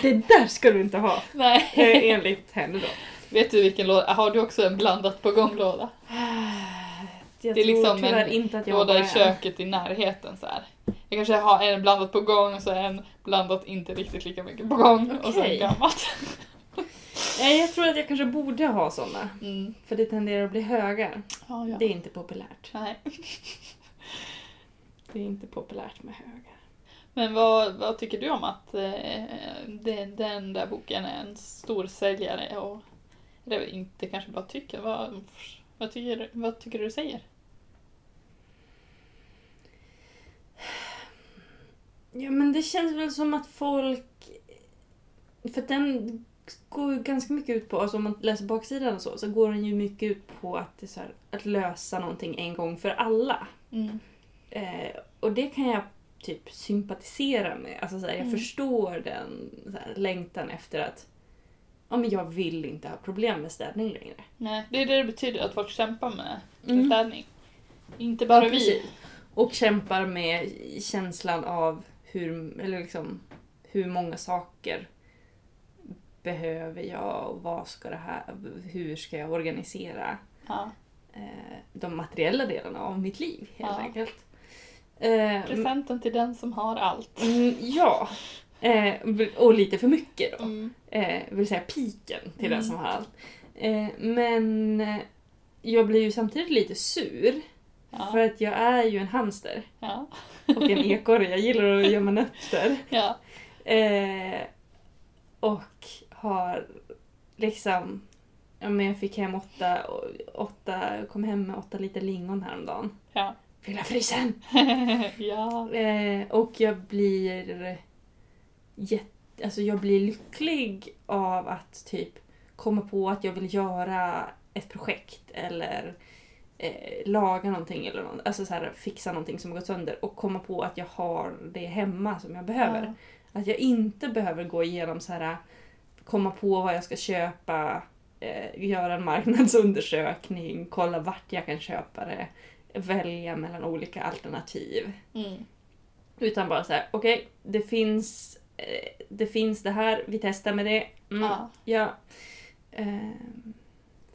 A: Det där ska du inte ha,
B: Nej.
A: eh, enligt henne då.
B: Vet du vilken låda? Har du också en blandat på gång-låda?
A: Jag
B: Det
A: tror
B: är liksom en
A: tyvärr inte att jag
B: Låda
A: har
B: i
A: en.
B: köket i närheten så här. Jag kanske har en blandat på gång och så en blandat inte riktigt lika mycket på gång och sen
A: Okej.
B: gammalt.
A: Nej, jag tror att jag kanske borde ha såna.
B: Mm.
A: För det tenderar att bli högar.
B: Ja, ja.
A: Det är inte populärt.
B: Nej.
A: Det är inte populärt med högar.
B: Men vad, vad tycker du om att eh, det, den där boken är en stor säljare? Och, eller inte kanske bara tycker. Vad, vad, tycker, vad tycker du säger?
A: Ja, men det känns väl som att folk... För att den går ju ganska mycket ut på, alltså om man läser baksidan och så, så går den ju mycket ut på att, det är så här, att lösa någonting en gång för alla.
B: Mm.
A: Eh, och det kan jag typ sympatisera med. Alltså så här, jag
B: Mm.
A: förstår den så här, längtan efter att ja, men jag vill inte ha problem med städning längre.
B: Nej, det är det det betyder att folk kämpar med
A: Mm.
B: med städning. Inte bara
A: Ja,
B: vi.
A: precis. Och kämpar med känslan av hur, eller liksom, hur många saker behöver jag och vad ska det här, hur ska jag organisera
B: Ja.
A: eh, de materiella delarna av mitt liv helt
B: Ja.
A: enkelt. Eh,
B: Presenten till den som har allt.
A: mm, ja. Eh, och lite för mycket då.
B: Mm.
A: Eh, vill säga piken till den
B: Mm.
A: som har allt. Eh, men eh, jag blir ju samtidigt lite sur för
B: Ja.
A: att jag är ju en hamster.
B: Ja.
A: och en ekorre. Jag gillar att gömma nötter.
B: Ja.
A: Eh, och har liksom... Ja, men jag fick hem åtta, åtta, kom hem med åtta liter lingon häromdagen.
B: Ja.
A: Fylla frysen!
B: ja.
A: Eh, och jag blir... Jätte, alltså jag blir lycklig av att typ komma på att jag vill göra ett projekt eller eh, laga någonting eller något, alltså så här, fixa någonting som har gått sönder och komma på att jag har det hemma som jag behöver.
B: Ja.
A: Att jag inte behöver gå igenom så här komma på vad jag ska köpa, eh, göra en marknadsundersökning, kolla vart jag kan köpa det, välja mellan olika alternativ.
B: Mm.
A: Utan bara så här, okej, det finns eh, det finns det här, vi testar med det. Mm,
B: Ja.
A: ja. Ehm,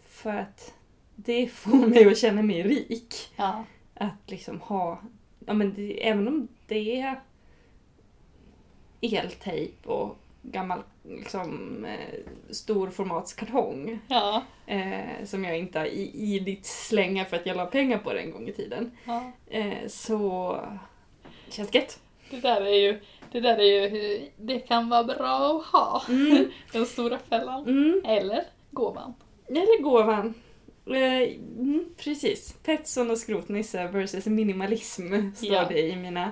A: för att det får mig att känna mig rik
B: ja.
A: att liksom ha, ja men det, även om det är eltejp och gammal liksom, eh, storformatskartong
B: Ja.
A: eh, som jag inte har i, i ditt slänga för att jag la pengar på det en gång i tiden
B: ja.
A: eh, så känns gött.
B: Det där är ju, det där är ju, hur- det kan vara bra att ha.
A: Mm.
B: Den stora fällan.
A: Mm.
B: Eller gåvan.
A: Eller gåvan. Eh, mm, precis. Petsson och skrotnisse versus minimalism står
B: Ja.
A: det i mina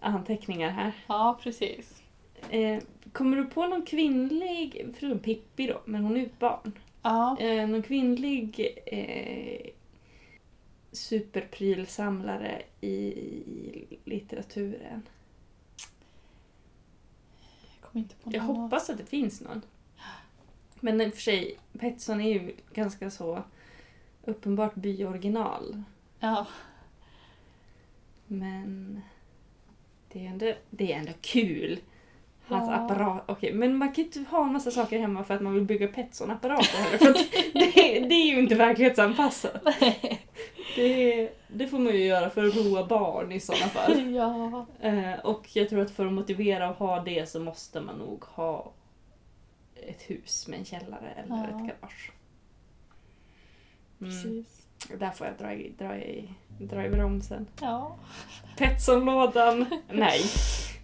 A: anteckningar här.
B: Ja, precis.
A: Eh, kommer du på någon kvinnlig, förutom Pippi då, men hon är ju ett barn.
B: Ja.
A: Eh, någon kvinnlig eh, superprylsamlare i, i litteraturen?
B: kommer inte på någon
A: Jag hoppas att det finns någon. Men i och för sig, Petson är ju ganska så uppenbart byoriginal.
B: Ja.
A: Men det är ändå, det är ändå kul. Hans
B: Ja.
A: apparat. Okej, men man kan ju inte ha en massa saker hemma för att man vill bygga Petson-apparater heller. För att det, det är ju inte verklighetsanpassat. Det, det får man ju göra för att roa barn i sådana fall.
B: ja.
A: Eh, och jag tror att för att motivera att ha det så måste man nog ha ett hus med en källare eller
B: Ja.
A: ett garage. Mm.
B: Precis.
A: Där får jag dra i, dra i, dra i bromsen.
B: Ja.
A: Petsonlådan? Nej,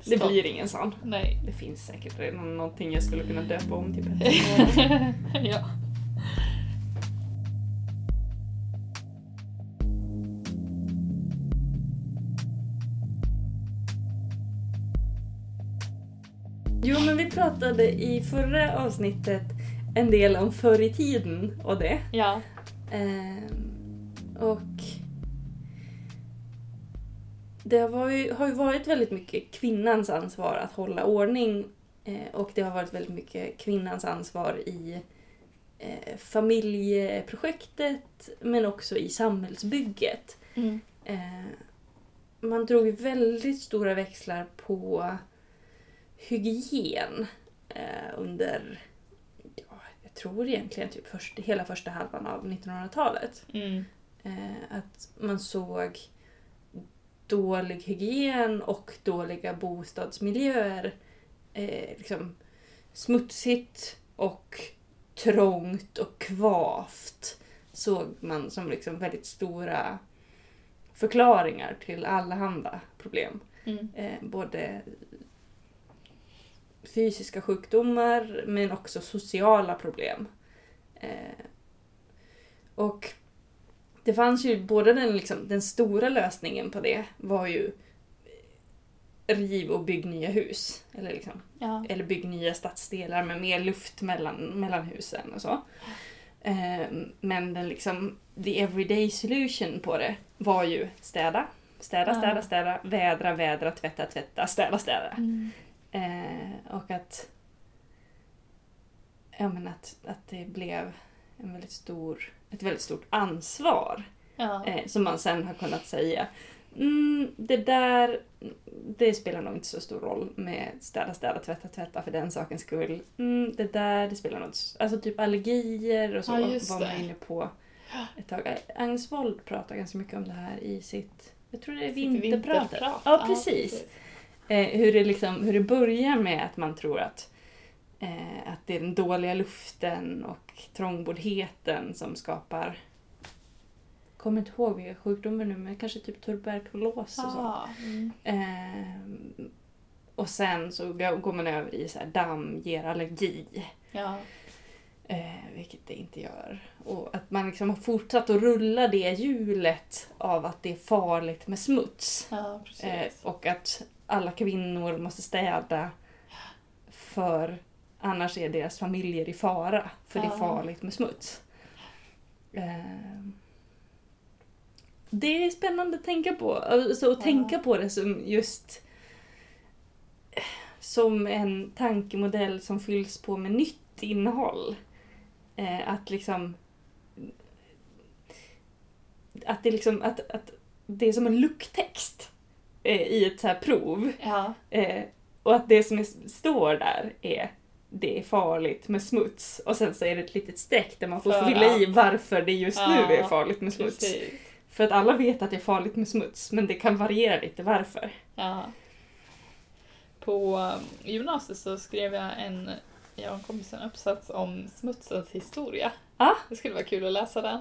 A: det
B: Stopp.
A: blir ingen sån.
B: Nej.
A: Det finns säkert redan någonting jag skulle kunna döpa om till Petsonlådan.
B: ja.
A: jo, men vi pratade i förra avsnittet en del om förr i tiden och det.
B: Ja.
A: Ehm, och det var ju, har ju varit väldigt mycket kvinnans ansvar att hålla ordning eh, och det har varit väldigt mycket kvinnans ansvar i eh, familjeprojektet men också i samhällsbygget.
B: Mm.
A: Eh, man drog ju väldigt stora växlar på hygien eh, under, ja, jag tror egentligen typ först, hela första halvan av 1900-talet.
B: Mm.
A: Eh, att man såg dålig hygien och dåliga bostadsmiljöer. Eh, liksom smutsigt och trångt och kvavt såg man som liksom väldigt stora förklaringar till allehanda problem
B: Mm.
A: eh, både fysiska sjukdomar men också sociala problem. Eh, och det fanns ju både den, liksom, den stora lösningen på det var ju eh, riv och bygg nya hus. Eller, liksom,
B: Ja.
A: eller bygg nya stadsdelar med mer luft mellan, mellan husen och så. Ehm, men den liksom, the everyday solution på det var ju städa, städa,
B: Ja.
A: städa, städa, vädra, vädra, tvätta, tvätta, städa, städa.
B: Mm.
A: Eh, och att, ja, men att, att det blev en väldigt stor, ett väldigt stort ansvar
B: Ja.
A: eh, som man sen har kunnat säga mm, det där det spelar nog inte så stor roll med städa, städa, tvätta, tvätta för den sakens skull. Mm, det där det spelar nog inte så- Alltså typ allergier och så
B: Ja, just
A: var man
B: det.
A: inne på ett tag. Agnes Wold pratar ganska mycket om det här i sitt, jag tror det är
B: Sitt
A: vinterpratet. Ja, precis. Eh, hur, det liksom, hur det börjar med att man tror att, eh, att det är den dåliga luften och trångboddheten som skapar... kommer inte ihåg vilka sjukdomar nu, men kanske typ tuberkulos och så.
B: Ja. Mm.
A: Eh, och sen så g- går man över i så här, damm ger allergi,
B: Ja.
A: eh, vilket det inte gör. Och att man liksom har fortsatt att rulla det hjulet av att det är farligt med smuts.
B: Ja,
A: Eh,
B: precis.
A: och att alla kvinnor måste städa för annars är deras familjer i fara för det är
B: Ja.
A: farligt med smuts. Eh, det är spännande att tänka på. Alltså, att
B: Ja.
A: tänka på det som just eh, som en tankemodell som fylls på med nytt innehåll. Eh, att liksom att det liksom att, att det är som en lucktext eh, i ett så här prov.
B: Ja.
A: Eh, och att det som är, står där är det är farligt med smuts. Och sen så är det ett litet streck där man får
B: För
A: fylla i
B: att-
A: varför det just nu är
B: Ja,
A: farligt med smuts.
B: Precis.
A: För att alla vet att det är farligt med smuts, men det kan variera lite varför.
B: Ja. På eh, gymnasiet så skrev jag en, jag och en kompis en uppsats om smutsens historia.
A: Ja.
B: Det skulle vara kul att läsa den.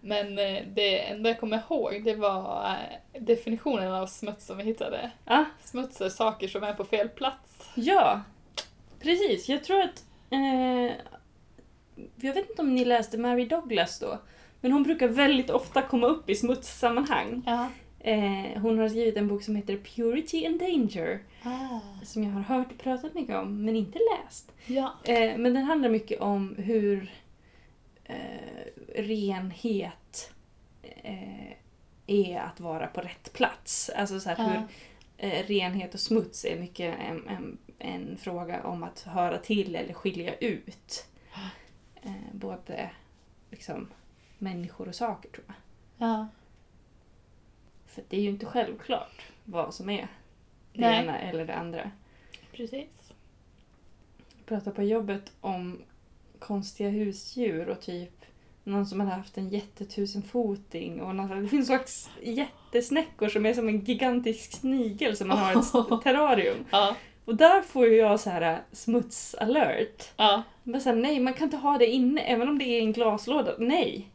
B: Men eh, det enda jag kommer ihåg det var eh, definitionen av smuts som vi hittade.
A: Ah,
B: Smuts är saker som är på fel plats.
A: ja, precis. Jag tror att... Eh, jag vet inte om ni läste Mary Douglas då, men hon brukar väldigt ofta komma upp i smutssammanhang.
B: Ja.
A: Eh, hon har skrivit en bok som heter Purity and Danger,
B: Ah.
A: som jag har hört och pratat mycket om, men inte läst.
B: Ja.
A: Eh, men den handlar mycket om hur eh, renhet eh, är att vara på rätt plats. Alltså så här, hur
B: Ja.
A: eh, renhet och smuts är mycket en, en, en fråga om att höra till eller skilja ut. Eh, både liksom, människor och saker tror jag.
B: Ja.
A: För det är ju inte självklart vad som är det
B: Nej.
A: ena eller det andra.
B: Precis.
A: Jag pratade på jobbet om konstiga husdjur och typ någon som hade haft en jättetusenfoting och någon, det finns också jättesnäckor som är som en gigantisk snigel som man har i ett terrarium.
B: Ja.
A: Och där får ju jag så här smutsalert.
B: ja.
A: Men så här, nej, man kan inte ha det inne även om det är i en glaslåda. Nej!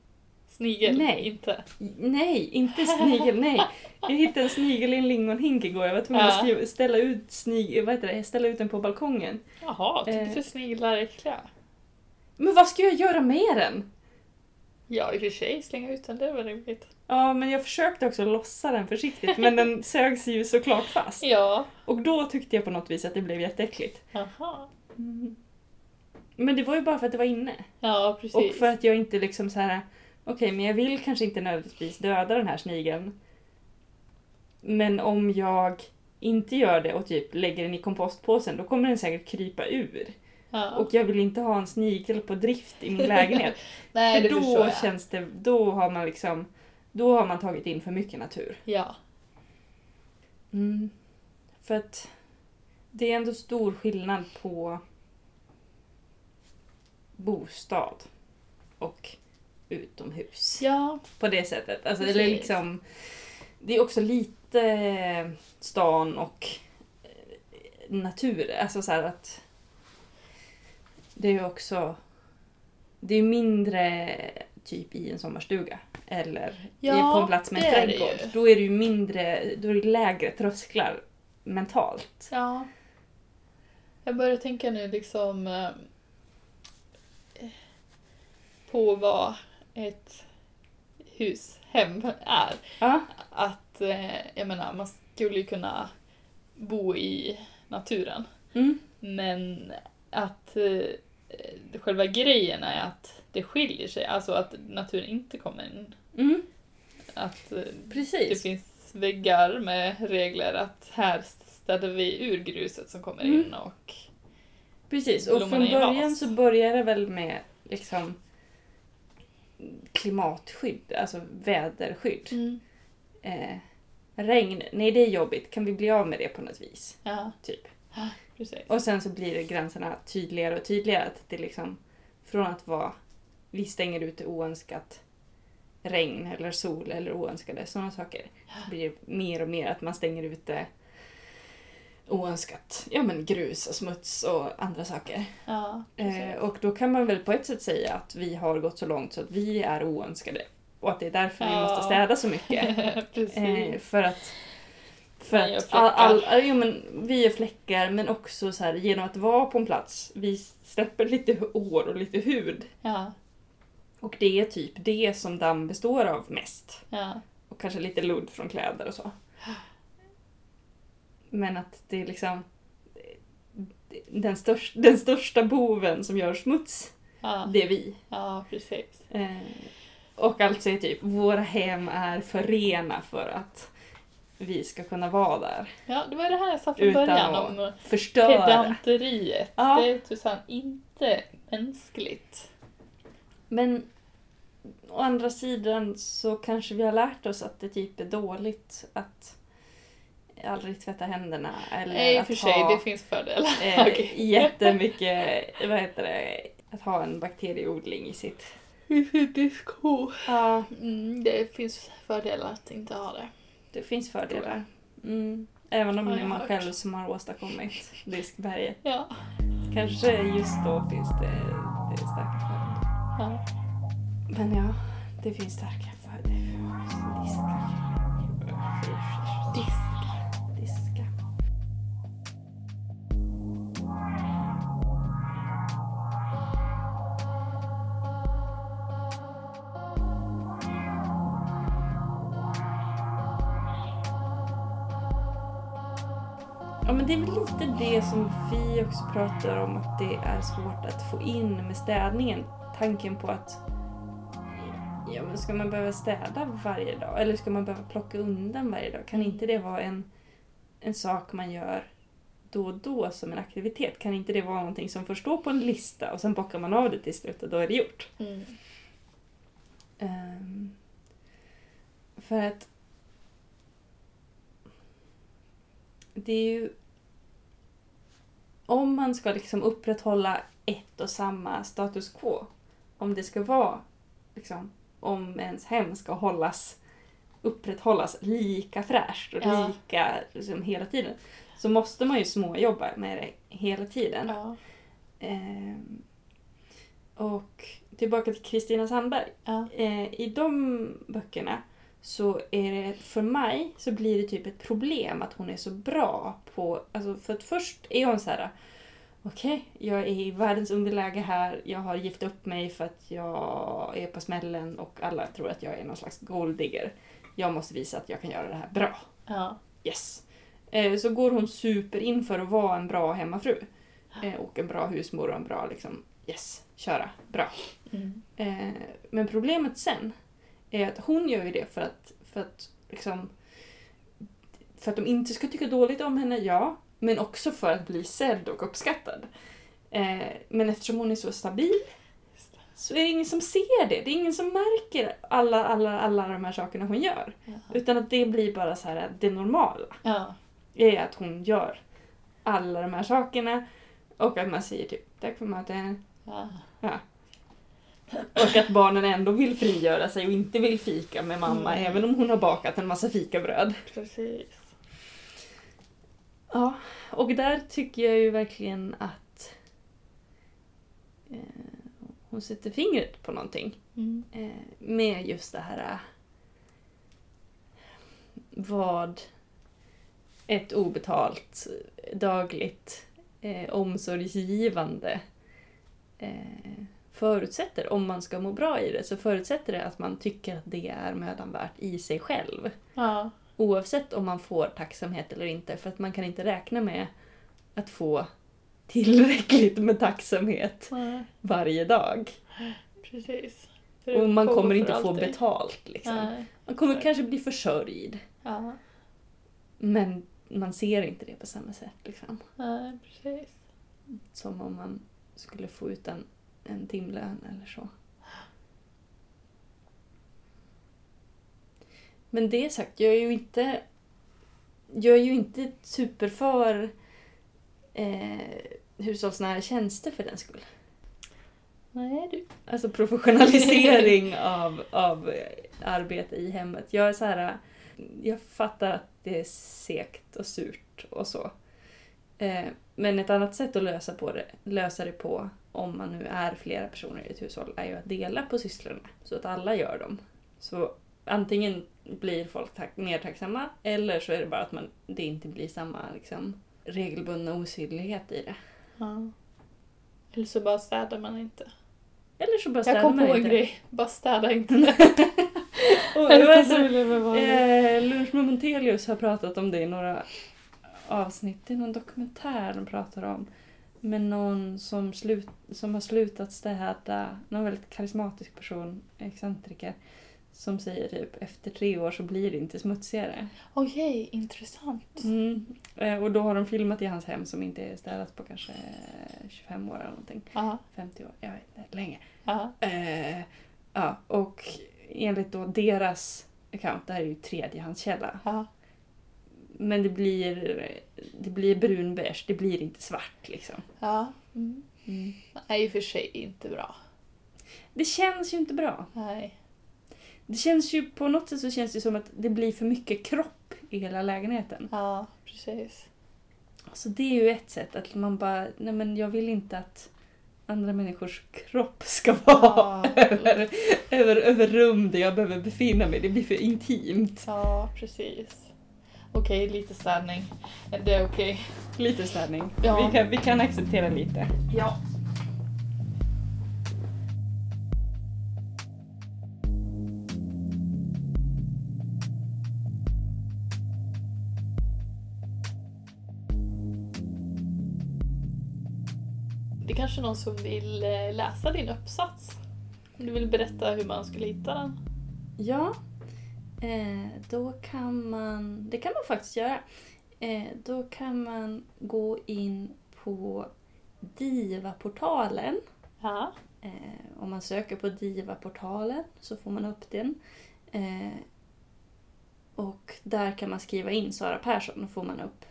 B: Snigel.
A: Nej.
B: Inte.
A: Nej, inte snigel, nej. Jag hittade en snigel i en lingonhink igår. Jag var tvungen att
B: Ja.
A: skriva, ställa, ut snig, vad heter det, ställa ut den på balkongen.
B: Jaha, tyckte
A: Eh.
B: du sniglar är äckliga?
A: Men vad ska jag göra med den?
B: Ja, i och för sig, slänga ut den, det var rimligt.
A: Ja, men jag försökte också lossa den försiktigt men den sögs ju såklart fast.
B: Ja.
A: Och då tyckte jag på något vis att det blev jätteäckligt. Mm.
B: Jaha.
A: Men det var ju bara för att det var inne.
B: Ja, precis.
A: Och för att jag inte liksom så här. okej men jag vill kanske inte nödvändigtvis döda den här snigeln. Men om jag inte gör det och typ lägger den i kompostpåsen då kommer den säkert krypa ur.
B: ja.
A: Och jag vill inte ha en snigel på drift i min lägenhet.
B: Nej, det
A: för
B: förstår
A: då
B: jag.
A: känns det, då har man liksom, då har man tagit in för mycket natur.
B: Ja.
A: Mm. För att det är ändå stor skillnad på bostad och utomhus.
B: Ja.
A: På det sättet. Alltså,
B: Precis.
A: eller liksom, det är också lite eh, stan och eh, natur. Alltså så här att det är ju också det är mindre typ i en sommarstuga eller
B: Ja,
A: i, på en plats med
B: det
A: en
B: är det
A: trädgård.
B: ju.
A: då är det ju mindre, då är det lägre trösklar mentalt.
B: Ja. Jag börjar tänka nu liksom eh, på vad ett hushem är.
A: Ja,
B: Att, eh, jag menar, man skulle ju kunna bo i naturen.
A: mm.
B: Men att eh, själva grejen är att det skiljer sig, alltså att naturen inte kommer in.
A: Mm.
B: Att eh, det
A: precis.
B: finns väggar med regler att här städar vi ur gruset som kommer
A: Mm.
B: in och
A: Precis, och
B: blommorna
A: från
B: i vas.
A: början så började det väl med liksom klimatskydd, alltså väderskydd. Eh, regn, nej det är jobbigt, kan vi bli av med det på något vis?
B: Ja,
A: Typ.
B: precis.
A: Och sen så blir det gränserna tydligare och tydligare. Att det liksom, från att vara, vi stänger ute oönskat regn eller sol eller oönskade sådana saker. Så blir det mer och mer att man stänger ute oönskat ja, men grus och smuts och andra saker.
B: Ja,
A: Eh,
B: precis.
A: och då kan man väl på ett sätt säga att vi har gått så långt så att vi är oönskade. Och att det är därför vi
B: Ja.
A: måste städa så mycket.
B: precis.
A: Eh, för att, för
B: Man gör
A: att all, all,
B: fläckar.
A: jo, men vi gör fläckar men också så här, genom att vara på en plats, vi släpper lite hår och lite hud.
B: Ja,
A: Och det är typ det som damm består av mest.
B: ja,
A: Och kanske lite ludd från kläder och så. Men att det är liksom den, störst, den största boven som gör smuts,
B: ja,
A: det är vi.
B: ja, precis.
A: Eh, och alltså är typ, våra hem är för rena för att vi ska kunna vara där.
B: Ja, det var det här jag sa från
A: Utan
B: början
A: att
B: om
A: Förstöra.
B: pedanteriet.
A: Ja.
B: Det är tusan inte mänskligt.
A: Men å andra sidan så kanske vi har lärt oss att det typ är dåligt att aldrig tvätta händerna eller
B: Nej, i och
A: att
B: för sig,
A: ha
B: det finns fördelar.
A: eh,
B: Okej.
A: jättemycket, vad heter det, att ha en bakterieodling i sitt...
B: Disko.
A: Ja,
B: Mm, det finns fördelar att inte ha det.
A: det finns fördelar. Mm. Även om
B: Har
A: det är
B: jag
A: man
B: hört.
A: själv som har åstadkommit diskberget.
B: Ja.
A: Kanske just då finns det, det är starkt för.
B: ja.
A: Men ja, det finns starka fördelar. Diska. Diska. Diska. Ja, men det är väl lite det som vi också pratar om, att det är svårt att få in med städningen. Tanken på att ja, men ska man behöva städa varje dag? Eller ska man behöva plocka undan varje dag? Kan inte det vara en en sak man gör då och då som en aktivitet? Kan inte det vara någonting som får stå på en lista och sen bockar man av det till slut och då är det gjort?
B: Mm.
A: Ehm, för att det är ju om man ska liksom upprätthålla ett och samma status quo om det ska vara liksom om ens hem ska hållas upprätthållas lika fräscht och
B: Ja.
A: lika liksom, hela tiden så måste man ju småjobba med det hela tiden.
B: Ja.
A: Ehm, och tillbaka till Kristina Sandberg.
B: Ja.
A: Eh, I de böckerna så är det, för mig, så blir det typ ett problem att hon är så bra på, alltså för att först är hon så här. okej, jag är i världens underläge här, jag har gift upp mig för att jag är på smällen och alla tror att jag är någon slags golddigger. Jag måste visa att jag kan göra det här bra.
B: Ja.
A: Yes. Eh, så går hon super in för att vara en bra hemmafru. Eh, och en bra husmor och en bra liksom, yes, köra, bra.
B: Mm.
A: Eh, men problemet sen är att hon gör ju det för att, för att liksom för att de inte ska tycka dåligt om henne, ja. Men också för att bli sedd och uppskattad. Eh, men eftersom hon är så stabil
B: Just det.
A: så är det ingen som ser det. Det är ingen som märker alla, alla, alla de här sakerna hon gör.
B: Ja.
A: Utan att det blir bara så här det normala
B: Ja.
A: är att hon gör alla de här sakerna och att man säger typ tack för maten.
B: Ja.
A: Och att barnen ändå vill frigöra sig och inte vill fika med mamma
B: Mm.
A: även om hon har bakat en massa fikabröd.
B: Precis.
A: Ja, och där tycker jag ju verkligen att eh, hon sätter fingret på någonting.
B: Mm.
A: eh, med just det här eh, vad ett obetalt eh, dagligt eh, omsorgsgivande eh, förutsätter. Om man ska må bra i det så förutsätter det att man tycker att det är mödan värt i sig själv.
B: Ja.
A: Oavsett om man får tacksamhet eller inte för att man kan inte räkna med att få tillräckligt med tacksamhet
B: Nej,
A: varje dag.
B: Precis. För det
A: Och man
B: pågår
A: kommer
B: för
A: inte få
B: alltid.
A: betalt. Liksom.
B: Nej.
A: Man kommer kanske bli försörjd,
B: Ja.
A: men man ser inte det på samma sätt. Liksom.
B: Nej, precis.
A: Som om man skulle få ut en, en timlön eller så. Men det sagt, jag är ju inte, jag är ju inte superför eh, hushållsnära tjänster för den skull.
B: Nej, du.
A: Alltså professionalisering av, av eh, arbete i hemmet. Jag är så här, eh, jag fattar att det är segt och surt och så. Eh, Men ett annat sätt att lösa, på det, lösa det på, om man nu är flera personer i ett hushåll, är ju att dela på sysslorna så att alla gör dem. Så antingen blir folk tack, mer tacksamma eller så är det bara att man, det inte blir samma liksom, regelbundna osynlighet i det.
B: Ja. Eller så bara städar man inte.
A: Eller så bara
B: Jag
A: städar
B: kom på
A: man
B: en
A: inte.
B: grej. Bara städa inte.
A: Och det var
B: Eller
A: så-
B: så rolig med vad-
A: Eh, Lunch med Montelius har pratat om det i några avsnitt. Det är någon dokumentär de pratar om. Med någon som, slut, som har slutat städa. Någon väldigt karismatisk person, excentriker. Som säger typ efter tre år så blir det inte smutsigare.
B: Okej, intressant.
A: Mm. Eh, och då har de filmat i hans hem som inte är städat på kanske 25 år eller någonting.
B: Ja.
A: 50 år, jag vet inte, länge.
B: Ja.
A: Eh, ja, och enligt då deras account, det här är ju tredjehandskälla,
B: Ja.
A: men det blir, det blir brunbärs, det blir inte svart liksom.
B: Ja. Mm. Nej, i och för sig inte bra.
A: Det känns ju inte bra.
B: Nej.
A: Det känns ju på något sätt så känns det som att det blir för mycket kropp i hela lägenheten.
B: Ja, precis.
A: Så det är ju ett sätt att man bara, nej men jag vill inte att andra människors kropp ska vara
B: Ja.
A: över, över, över rum där jag behöver befinna mig. Det blir för intimt.
B: Ja, precis. Okej, lite städning. Det är okej.
A: Lite städning.
B: Ja.
A: Vi, kan, vi kan acceptera lite.
B: Ja. Det är kanske är någon som vill eh, läsa din uppsats? Om du vill berätta hur man skulle hitta den?
A: Ja, eh, då kan man, det kan man faktiskt göra. Eh, då kan man gå in på Divaportalen.
B: Ja.
A: Eh, om man söker på Divaportalen så får man upp den. Eh, och där kan man skriva in Sara Persson och får man upp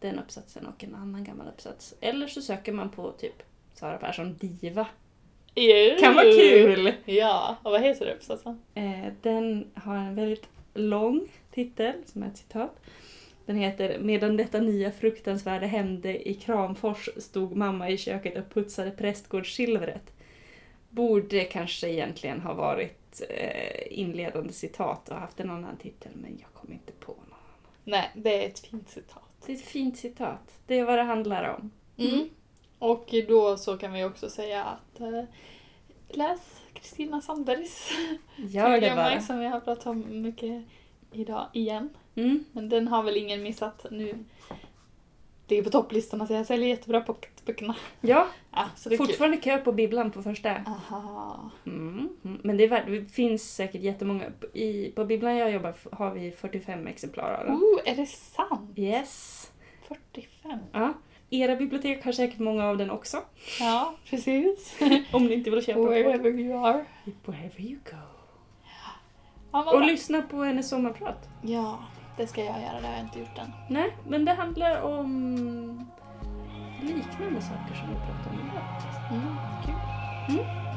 A: den uppsatsen och en annan gammal uppsats. Eller så söker man på typ Sara Persson Diva.
B: Ew.
A: Kan vara kul!
B: Ja, och vad heter uppsatsen?
A: Eh, den har en väldigt lång titel som är ett citat. Den heter Medan detta nya fruktansvärda hände i Kramfors stod mamma i köket och putsade prästgårdssilvret. Borde kanske egentligen ha varit eh, inledande citat och haft en annan titel men jag kom inte på något.
B: Nej, det är ett fint citat.
A: Det är ett fint citat. Det är vad det handlar om.
B: Mm. Och då så kan vi också säga att eh, läs Kristina Sandbergs
A: Gör det
B: Tegelmark
A: bara.
B: som vi har pratat om mycket idag igen.
A: Mm.
B: Men den har väl ingen missat nu. Ligger på topplistorna så jag säljer jättebra pocketböckerna.
A: Ja,
B: Ja, Ah, så det är kul.
A: fortfarande kö på bibblan på första.
B: Aha.
A: Mm. mm. Men det, är, värt- det finns säkert jättemånga. I, på bibblan jag jobbar f- har vi 45 exemplar av den.
B: Oh, är det sant?
A: Yes.
B: 45.
A: Ja. Era bibliotek har säkert många av den också.
B: Ja, precis.
A: Om ni inte vill köpa på
B: Wherever you are.
A: Wherever you go.
B: Ja, vad
A: Och
B: bra.
A: lyssna på hennes sommarprat.
B: ja, det ska jag göra. Det har jag inte gjort än.
A: Nej, men det handlar om liknande saker som vi pratade om idag.
B: Mm, kul.
A: Mm.